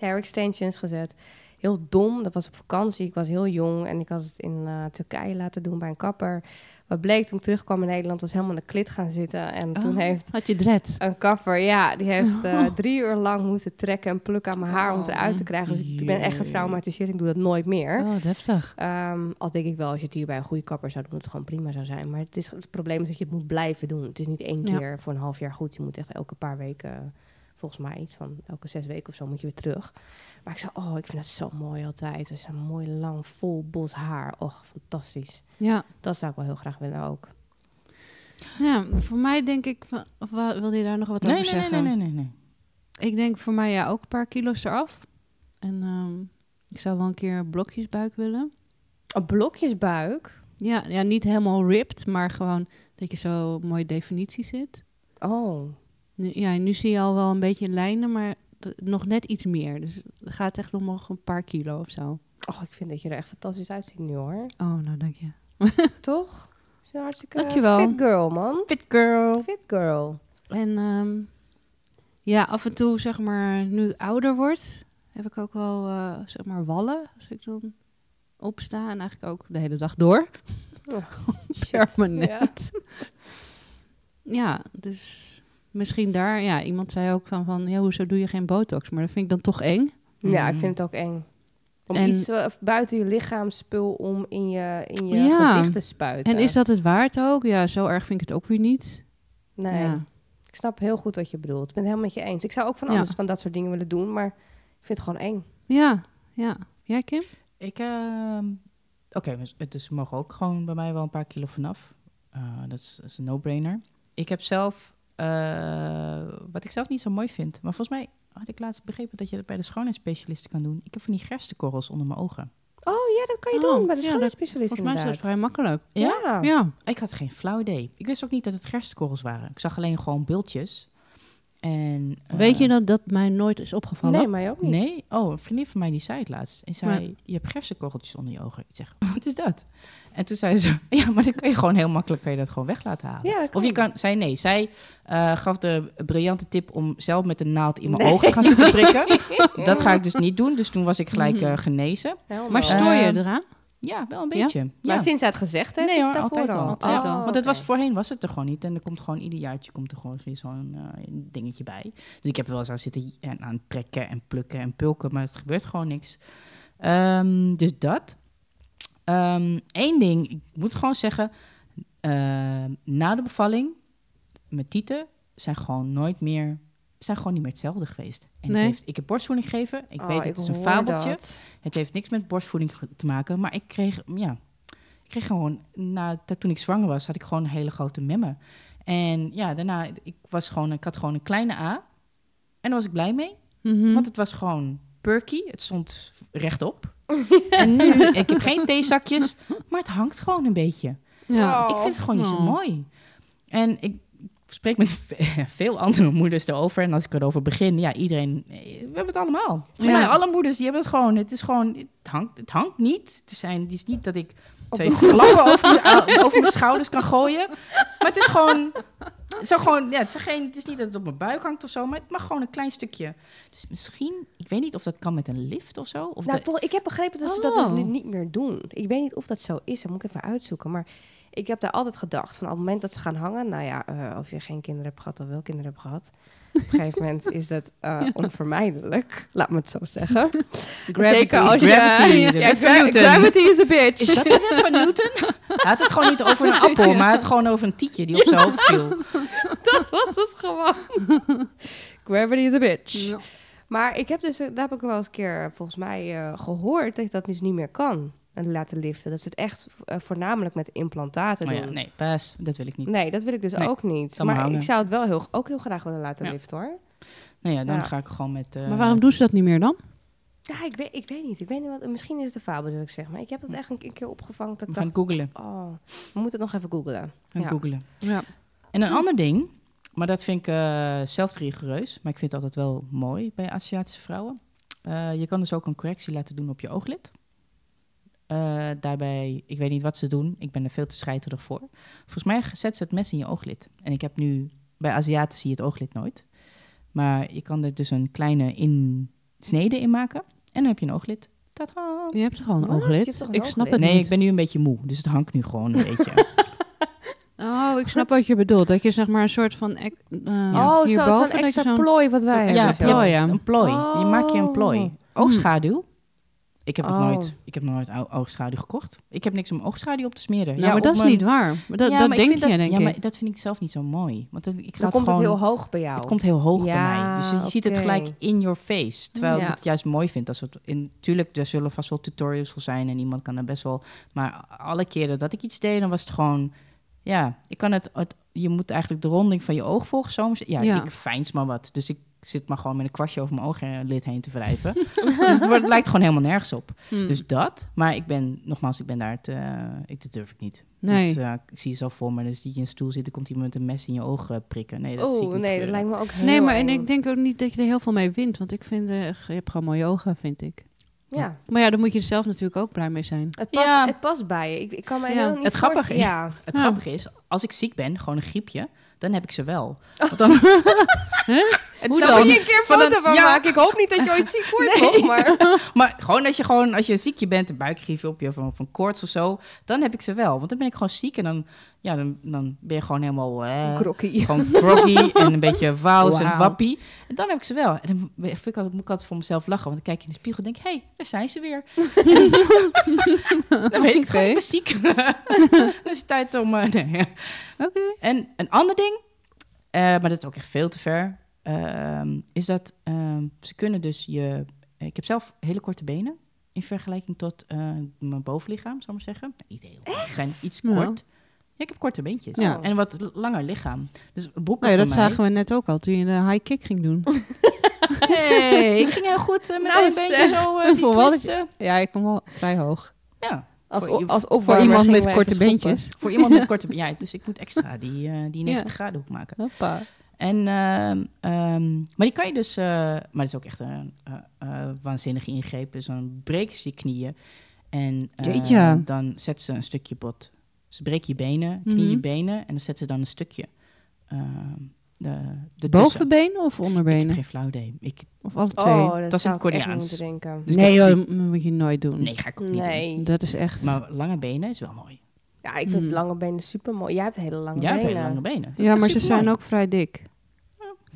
Speaker 1: hair extensions gezet. Heel dom. Dat was op vakantie. Ik was heel jong en ik had het in eh, Turkije laten doen bij een kapper. Wat bleek toen ik terugkwam in Nederland, was helemaal in de klit gaan zitten. En toen
Speaker 2: Oh,
Speaker 1: heeft
Speaker 2: Had je dread.
Speaker 1: een kapper, ja, die heeft eh, drie uur lang moeten trekken en plukken aan mijn haar om het eruit te krijgen. Dus ik ben echt
Speaker 3: Jee.
Speaker 1: getraumatiseerd. Ik doe dat nooit meer.
Speaker 2: Oh, heftig.
Speaker 1: Ehm, al denk ik wel, als je het hier bij een goede kapper zou doen, dat het gewoon prima zou zijn. Maar het, is, het probleem is dat je het moet blijven doen. Het is niet één
Speaker 2: Ja.
Speaker 1: keer voor een half jaar goed. Je moet echt elke paar weken, volgens mij iets van elke zes weken of zo, moet je weer terug. Maar ik zei, oh, ik vind dat zo mooi altijd. Het is een mooi, lang, vol bos haar. Och, fantastisch.
Speaker 2: Ja.
Speaker 1: Dat zou ik wel heel graag willen ook.
Speaker 2: ja, voor mij denk ik... Van, of wa- wilde je daar nog wat over zeggen?
Speaker 3: nee, nee.
Speaker 2: Ik denk voor mij ja, ook een paar kilo's eraf. En ehm, ik zou wel een keer blokjesbuik willen.
Speaker 1: Een blokjesbuik?
Speaker 2: Ja, ja, niet helemaal ripped, maar gewoon dat je zo mooi definitie zit.
Speaker 1: Oh,
Speaker 2: Nu, ja, nu zie je al wel een beetje lijnen, maar t- nog net iets meer. Dus het gaat echt om nog een paar kilo of zo.
Speaker 1: oh ik vind dat je er echt fantastisch uitziet nu hoor.
Speaker 2: Oh, nou dank je.
Speaker 1: Toch? Je bent een hartstikke
Speaker 2: Dankjewel.
Speaker 1: fit girl, man.
Speaker 3: Fit girl.
Speaker 1: Fit girl.
Speaker 2: En ehm, ja, af en toe, zeg maar, nu ik ouder word, heb ik ook wel, eh, zeg maar, wallen. Als ik dan opsta en eigenlijk ook de hele dag door.
Speaker 1: Oh,
Speaker 2: Permanent. Ja. dus misschien daar, ja, iemand zei ook van, van ja, hoezo doe je geen botox? Maar dat vind ik dan toch eng.
Speaker 1: Ja,
Speaker 3: Mm.
Speaker 1: ik vind het ook eng. Om
Speaker 2: En-
Speaker 1: iets eh, buiten je lichaamspul om in je, in je
Speaker 2: Ja.
Speaker 1: gezicht te spuiten.
Speaker 2: En is dat het waard ook? Ja, zo erg vind ik het ook weer niet.
Speaker 1: Nee,
Speaker 2: Ja.
Speaker 1: ik snap heel goed wat je bedoelt. Ik ben het helemaal met je eens. Ik zou ook van
Speaker 2: Ja.
Speaker 1: alles van dat soort dingen willen doen, maar ik vind het gewoon eng.
Speaker 2: ja, ja. Jij, Kim?
Speaker 3: Ik, ehm, oké, dus- dus ze mogen ook gewoon bij mij wel een paar kilo vanaf. Eh, dat, is, dat is een no-brainer. Ik heb zelf, eh, wat ik zelf niet zo mooi vind, maar volgens mij had ik laatst begrepen dat je dat bij de schoonheidsspecialisten kan doen. Ik heb van die gerstenkorrels onder mijn ogen.
Speaker 1: Oh ja, dat kan je
Speaker 2: Oh,
Speaker 1: doen bij de
Speaker 2: ja,
Speaker 1: schoonheidsspecialist
Speaker 2: Volgens mij is dat vrij
Speaker 1: inderdaad. Oh.
Speaker 2: makkelijk.
Speaker 1: Ja. Ja.
Speaker 2: Ja.
Speaker 3: Ik had geen flauw idee. Ik wist ook niet dat het gerstenkorrels waren. Ik zag alleen gewoon bultjes. En, eh,
Speaker 2: Weet je dat dat mij nooit is opgevallen?
Speaker 1: Nee, mij ook niet.
Speaker 3: Nee? Oh, een vriendin van mij die zei het laatst. En zei, je hebt gerstenkorreltjes onder je ogen. Ik zeg, wat is dat? En toen zei ze, ja, maar dan kan je gewoon heel makkelijk kan je dat gewoon weg laten halen.
Speaker 1: Ja, dat
Speaker 3: of je
Speaker 1: kan.
Speaker 3: kan, zij nee, zij eh, gaf de briljante tip om zelf met een naald in mijn ogen te gaan zitten prikken. dat ga ik dus niet doen, dus toen was ik
Speaker 1: Mhm.
Speaker 3: gelijk eh, genezen.
Speaker 1: Helemaal.
Speaker 2: Maar stoor je
Speaker 3: Ehm,
Speaker 2: eraan?
Speaker 3: Ja, wel een
Speaker 2: Ja?
Speaker 3: beetje. Ja?
Speaker 1: Maar sinds hij het gezegd heeft,
Speaker 3: Nee
Speaker 1: of
Speaker 3: hoor,
Speaker 1: daarvoor
Speaker 3: altijd al.
Speaker 2: Altijd
Speaker 1: Oh,
Speaker 2: al.
Speaker 3: Want het
Speaker 1: oké.
Speaker 3: was, voorheen was het er gewoon niet. En er komt gewoon ieder jaartje komt er gewoon weer zo'n eh, dingetje bij. Dus ik heb er wel eens aan zitten j- en aan trekken en plukken en pulken. Maar het gebeurt gewoon niks. Ehm, dus dat. Eén ding, ik moet gewoon zeggen. ehm, na de bevalling, mijn tieten zijn gewoon nooit meer... Zijn gewoon niet meer hetzelfde geweest. En het
Speaker 2: Nee.
Speaker 3: heeft, ik heb borstvoeding gegeven. Ik
Speaker 1: Oh,
Speaker 3: weet het, het is een
Speaker 1: hoor
Speaker 3: fabeltje.
Speaker 1: dat.
Speaker 3: Het heeft niks met borstvoeding ge- te maken, maar ik kreeg, ja, ik kreeg gewoon, na, dat toen ik zwanger was, had ik gewoon een hele grote memmen. En ja, daarna, ik, was gewoon, ik had gewoon een kleine A. En daar was ik blij mee,
Speaker 2: Mhm.
Speaker 3: want het was gewoon perky. Het stond rechtop. en nu, ik heb geen theezakjes, maar het hangt gewoon een beetje.
Speaker 2: ja.
Speaker 1: Oh.
Speaker 3: Ik vind het gewoon niet zo
Speaker 2: Oh.
Speaker 3: mooi. En ik spreek met ve- veel andere moeders erover. En als ik erover begin, ja, iedereen... eh, We hebben het allemaal. Voor
Speaker 2: Ja.
Speaker 3: mij, alle moeders, die hebben het gewoon. Het is gewoon... Het hangt, het hangt niet. Het, zijn, het is niet dat ik
Speaker 1: Op
Speaker 3: twee
Speaker 1: de
Speaker 3: klappen over, mijn- over mijn schouders kan gooien. Maar het is gewoon... Zo gewoon ja, het, is geen, het is niet dat het op mijn buik hangt of zo, maar het mag gewoon een klein stukje. Dus misschien, ik weet niet of dat kan met een lift of zo. Of
Speaker 1: Nou,
Speaker 3: de-
Speaker 1: vol- ik heb begrepen dat ze dat dus
Speaker 2: Oh.
Speaker 1: nu niet meer doen. Ik weet niet of dat zo is. Dat moet ik even uitzoeken. Maar ik heb daar altijd gedacht van op het moment dat ze gaan hangen. Nou ja, eh, of je geen kinderen hebt gehad of wel kinderen hebt gehad. Op een gegeven moment is dat eh, onvermijdelijk. Laat me het zo zeggen. Zeker als je.
Speaker 3: gravity, de
Speaker 1: Ja,
Speaker 3: wet van
Speaker 1: gra-
Speaker 3: Newton.
Speaker 1: gravity is the bitch.
Speaker 3: Is dat de wet van Newton? Hij had het gewoon niet over een appel, maar hij had het gewoon over een tietje die op zijn hoofd viel.
Speaker 1: dat was het gewoon. gravity is a bitch.
Speaker 2: Ja.
Speaker 1: Maar ik heb dus, eh, daar heb ik wel eens een keer eh, volgens mij eh, gehoord dat je dat dus niet meer kan. En laten liften. Dat ze het echt eh, voornamelijk met implantaten
Speaker 3: Maar Oh ja,
Speaker 1: doen.
Speaker 3: nee, pas, dat wil ik niet.
Speaker 1: Nee, dat wil ik dus
Speaker 3: Nee,
Speaker 1: ook niet.
Speaker 3: kan
Speaker 1: Maar
Speaker 3: maar hangen.
Speaker 1: ik zou het wel heel, ook heel graag willen laten
Speaker 3: Ja.
Speaker 1: liften hoor.
Speaker 3: Nou ja, dan
Speaker 1: Ja.
Speaker 3: ga ik gewoon met... eh,
Speaker 2: Maar waarom doen ze dat niet meer dan?
Speaker 1: Ja, ik weet, ik weet niet. Ik weet niet wat, misschien is het een fabel, dat ik zeg. Maar ik heb dat echt een, een keer opgevangen. Dat
Speaker 3: We
Speaker 1: ik
Speaker 3: gaan
Speaker 1: dacht,
Speaker 3: googlen.
Speaker 1: oh, we moeten het nog even googlen.
Speaker 3: Gaan
Speaker 1: Ja.
Speaker 3: googlen.
Speaker 2: Ja.
Speaker 3: En een ander ding, maar dat vind ik eh, zelf te rigoureus, maar ik vind het altijd wel mooi bij Aziatische vrouwen. Eh, je kan dus ook een correctie laten doen op je ooglid. Eh, daarbij, ik weet niet wat ze doen, ik ben er veel te scheiterig voor. Volgens mij zet ze het mes in je ooglid. En ik heb nu, bij Aziaten zie je het ooglid nooit. Maar je kan er dus een kleine insnede in maken en dan heb je een ooglid. Tada!
Speaker 2: Je hebt toch al een
Speaker 1: Wat? Je hebt
Speaker 2: ooglid?
Speaker 1: toch een
Speaker 2: Ik snap
Speaker 1: ooglid?
Speaker 2: het
Speaker 3: Nee,
Speaker 2: niet.
Speaker 3: ik ben nu een beetje moe, dus het hangt nu gewoon een beetje.
Speaker 2: Oh, ik snap wat je bedoelt. Dat je zeg maar een soort van... Ek, eh,
Speaker 1: Oh, zo,
Speaker 2: hierboven,
Speaker 1: zo'n
Speaker 2: dat je
Speaker 1: extra
Speaker 2: zo'n-
Speaker 1: plooi wat wij hebben.
Speaker 2: zo'n
Speaker 3: Ja,
Speaker 1: zo.
Speaker 2: extra
Speaker 3: plooi.
Speaker 2: plooi, ja.
Speaker 3: Een plooi. Je maakt je een
Speaker 1: Oh.
Speaker 3: plooi. Oogschaduw? Ik heb nog
Speaker 1: Oh.
Speaker 3: nooit, ik heb nog nooit o- oogschaduw gekocht. Ik heb niks om oogschaduw op te smeren.
Speaker 2: Nou, maar
Speaker 3: op
Speaker 2: dat is
Speaker 3: mijn-
Speaker 2: niet waar. Maar dat
Speaker 3: Ja,
Speaker 2: dat
Speaker 3: maar ik
Speaker 2: denk
Speaker 3: vind
Speaker 2: je,
Speaker 3: dat-
Speaker 2: denk
Speaker 3: ja,
Speaker 2: ik.
Speaker 3: maar dat vind ik zelf niet zo mooi. Want dan, ik ga
Speaker 1: Dan komt het
Speaker 3: gewoon-
Speaker 1: heel hoog bij jou.
Speaker 3: het komt heel hoog bij
Speaker 1: Ja,
Speaker 3: mij. Dus je ziet het
Speaker 1: oké.
Speaker 3: gelijk in your face. Terwijl
Speaker 1: Ja.
Speaker 3: ik het juist mooi vind. Als het in, tuurlijk, er zullen vast wel tutorials voor zijn en iemand kan er best wel. Maar alle keren dat ik iets deed, dan was het gewoon. Ja, ik kan het. het- je moet eigenlijk de ronding van je oog volgen. Soms, ja,
Speaker 2: Ja.
Speaker 3: ik feins maar wat. Dus ik zit maar gewoon met een kwastje over mijn ooglid heen te wrijven. dus het, wordt, het lijkt gewoon helemaal nergens op.
Speaker 2: Hmm.
Speaker 3: Dus dat. Maar ik ben, nogmaals, ik ben daar te, ik, dat durf ik niet.
Speaker 2: Nee.
Speaker 3: Dus eh, ik zie het zo voor me. Dus die je in een stoel zit, dan komt iemand met een mes in je oog eh, prikken. Nee, dat zie ik
Speaker 1: Oh,
Speaker 3: niet
Speaker 1: nee, dat lijkt
Speaker 3: gebeuren.
Speaker 1: me ook heel
Speaker 2: Nee, maar en
Speaker 1: eng.
Speaker 2: ik denk ook niet dat je er heel veel mee wint. Want ik vind, eh, je hebt gewoon mooie ogen, vind ik.
Speaker 1: Ja,
Speaker 2: Maar ja, dan moet je er zelf natuurlijk ook blij mee zijn.
Speaker 1: het past,
Speaker 3: Ja.
Speaker 1: het past bij je. Ik, ik kan me
Speaker 2: Ja.
Speaker 1: heel niet
Speaker 3: Het grappige
Speaker 1: voorst-
Speaker 3: is-
Speaker 1: Ja.
Speaker 3: Het
Speaker 2: Ja.
Speaker 3: grappige is, als ik ziek ben, gewoon een griepje, dan heb ik ze wel. Want dan,
Speaker 1: Het
Speaker 3: Hoe
Speaker 1: zal
Speaker 3: dan?
Speaker 1: je een keer een
Speaker 3: Van
Speaker 1: foto
Speaker 3: een-
Speaker 1: van
Speaker 3: ja.
Speaker 1: maken. Ik hoop niet dat je ooit ziek wordt, nog, maar...
Speaker 3: maar gewoon als je gewoon, als je ziekje bent, een buikgriepje op je of een- of een koorts of zo, dan heb ik ze wel. Want dan ben ik gewoon ziek en dan, ja, dan, dan ben je gewoon helemaal... eh,
Speaker 1: Krokkie.
Speaker 3: gewoon groggy en een beetje wauws en
Speaker 1: Wauw.
Speaker 3: wappie. En dan heb ik ze wel. En dan vind ik altijd, moet ik altijd voor mezelf lachen. Want dan kijk je in de spiegel en denk hé, hey, daar zijn ze weer. dan weet ik het gewoon,
Speaker 2: Oké.
Speaker 3: ik ben ziek. dan is het tijd om... eh, nee.
Speaker 2: Oké.
Speaker 3: En een ander ding, eh, maar dat is ook echt veel te ver, ehm, is dat ehm, ze kunnen dus je... Ik heb zelf hele korte benen in vergelijking tot eh, mijn bovenlichaam, zal ik maar zeggen. Nou, niet heel kort, ze zijn iets
Speaker 2: Nou.
Speaker 3: kort. Ja, ik heb korte beentjes
Speaker 1: Ja.
Speaker 3: en een wat l- langer lichaam. Dus boeken
Speaker 2: Nou ja,
Speaker 3: van
Speaker 2: dat
Speaker 3: mij...
Speaker 2: zagen we net ook al toen je de high kick ging doen.
Speaker 3: Nee, ik ging heel goed eh, met
Speaker 1: Nou,
Speaker 3: een beetje
Speaker 1: zeg.
Speaker 3: zo eh, die
Speaker 2: Voor wat?
Speaker 3: twisten.
Speaker 2: ja, ik kom wel vrij hoog.
Speaker 3: Ja,
Speaker 1: Als,
Speaker 3: Voor-
Speaker 1: o- als
Speaker 2: Voor
Speaker 1: opwarmer
Speaker 2: iemand
Speaker 1: gingen
Speaker 2: met
Speaker 1: wij
Speaker 2: korte
Speaker 1: even schoppen.
Speaker 2: beentjes.
Speaker 3: voor iemand met korte... Ja, dus ik moet extra die, eh, die 90 graden hoek maken.
Speaker 2: Hoppa.
Speaker 3: En, ehm, ehm, maar die kan je dus... eh, maar dat is ook echt een eh, eh, waanzinnige ingreep. Dus dan breken ze je knieën. En eh,
Speaker 2: Jeetje.
Speaker 3: dan zetten ze een stukje bot. Ze breken je benen, knie je
Speaker 2: Mhm.
Speaker 3: benen. En dan zetten ze dan een stukje. ehm de, de tussen.
Speaker 2: Bovenbenen of
Speaker 3: Ik heb
Speaker 2: onderbenen?
Speaker 3: geen flauw idee. Ik,
Speaker 2: Of alle twee?
Speaker 1: Oh, dat,
Speaker 3: Dat is
Speaker 1: zou
Speaker 3: een
Speaker 1: ik echt niet
Speaker 3: Koreaans.
Speaker 1: moeten denken.
Speaker 3: dus ik
Speaker 2: nee,
Speaker 3: heb-
Speaker 2: joh, dat moet je nooit doen.
Speaker 3: nee, ga ik ook niet doen.
Speaker 1: Nee.
Speaker 2: Dat is echt...
Speaker 3: Maar lange benen is wel mooi.
Speaker 1: Ja, ik vind
Speaker 2: Hmm.
Speaker 1: lange benen super mooi. Jij hebt hele lange
Speaker 3: Jij hebt
Speaker 1: benen.
Speaker 3: hele lange benen. Dat
Speaker 2: ja,
Speaker 3: is
Speaker 2: maar ze
Speaker 3: supermooi.
Speaker 2: zijn ook vrij dik.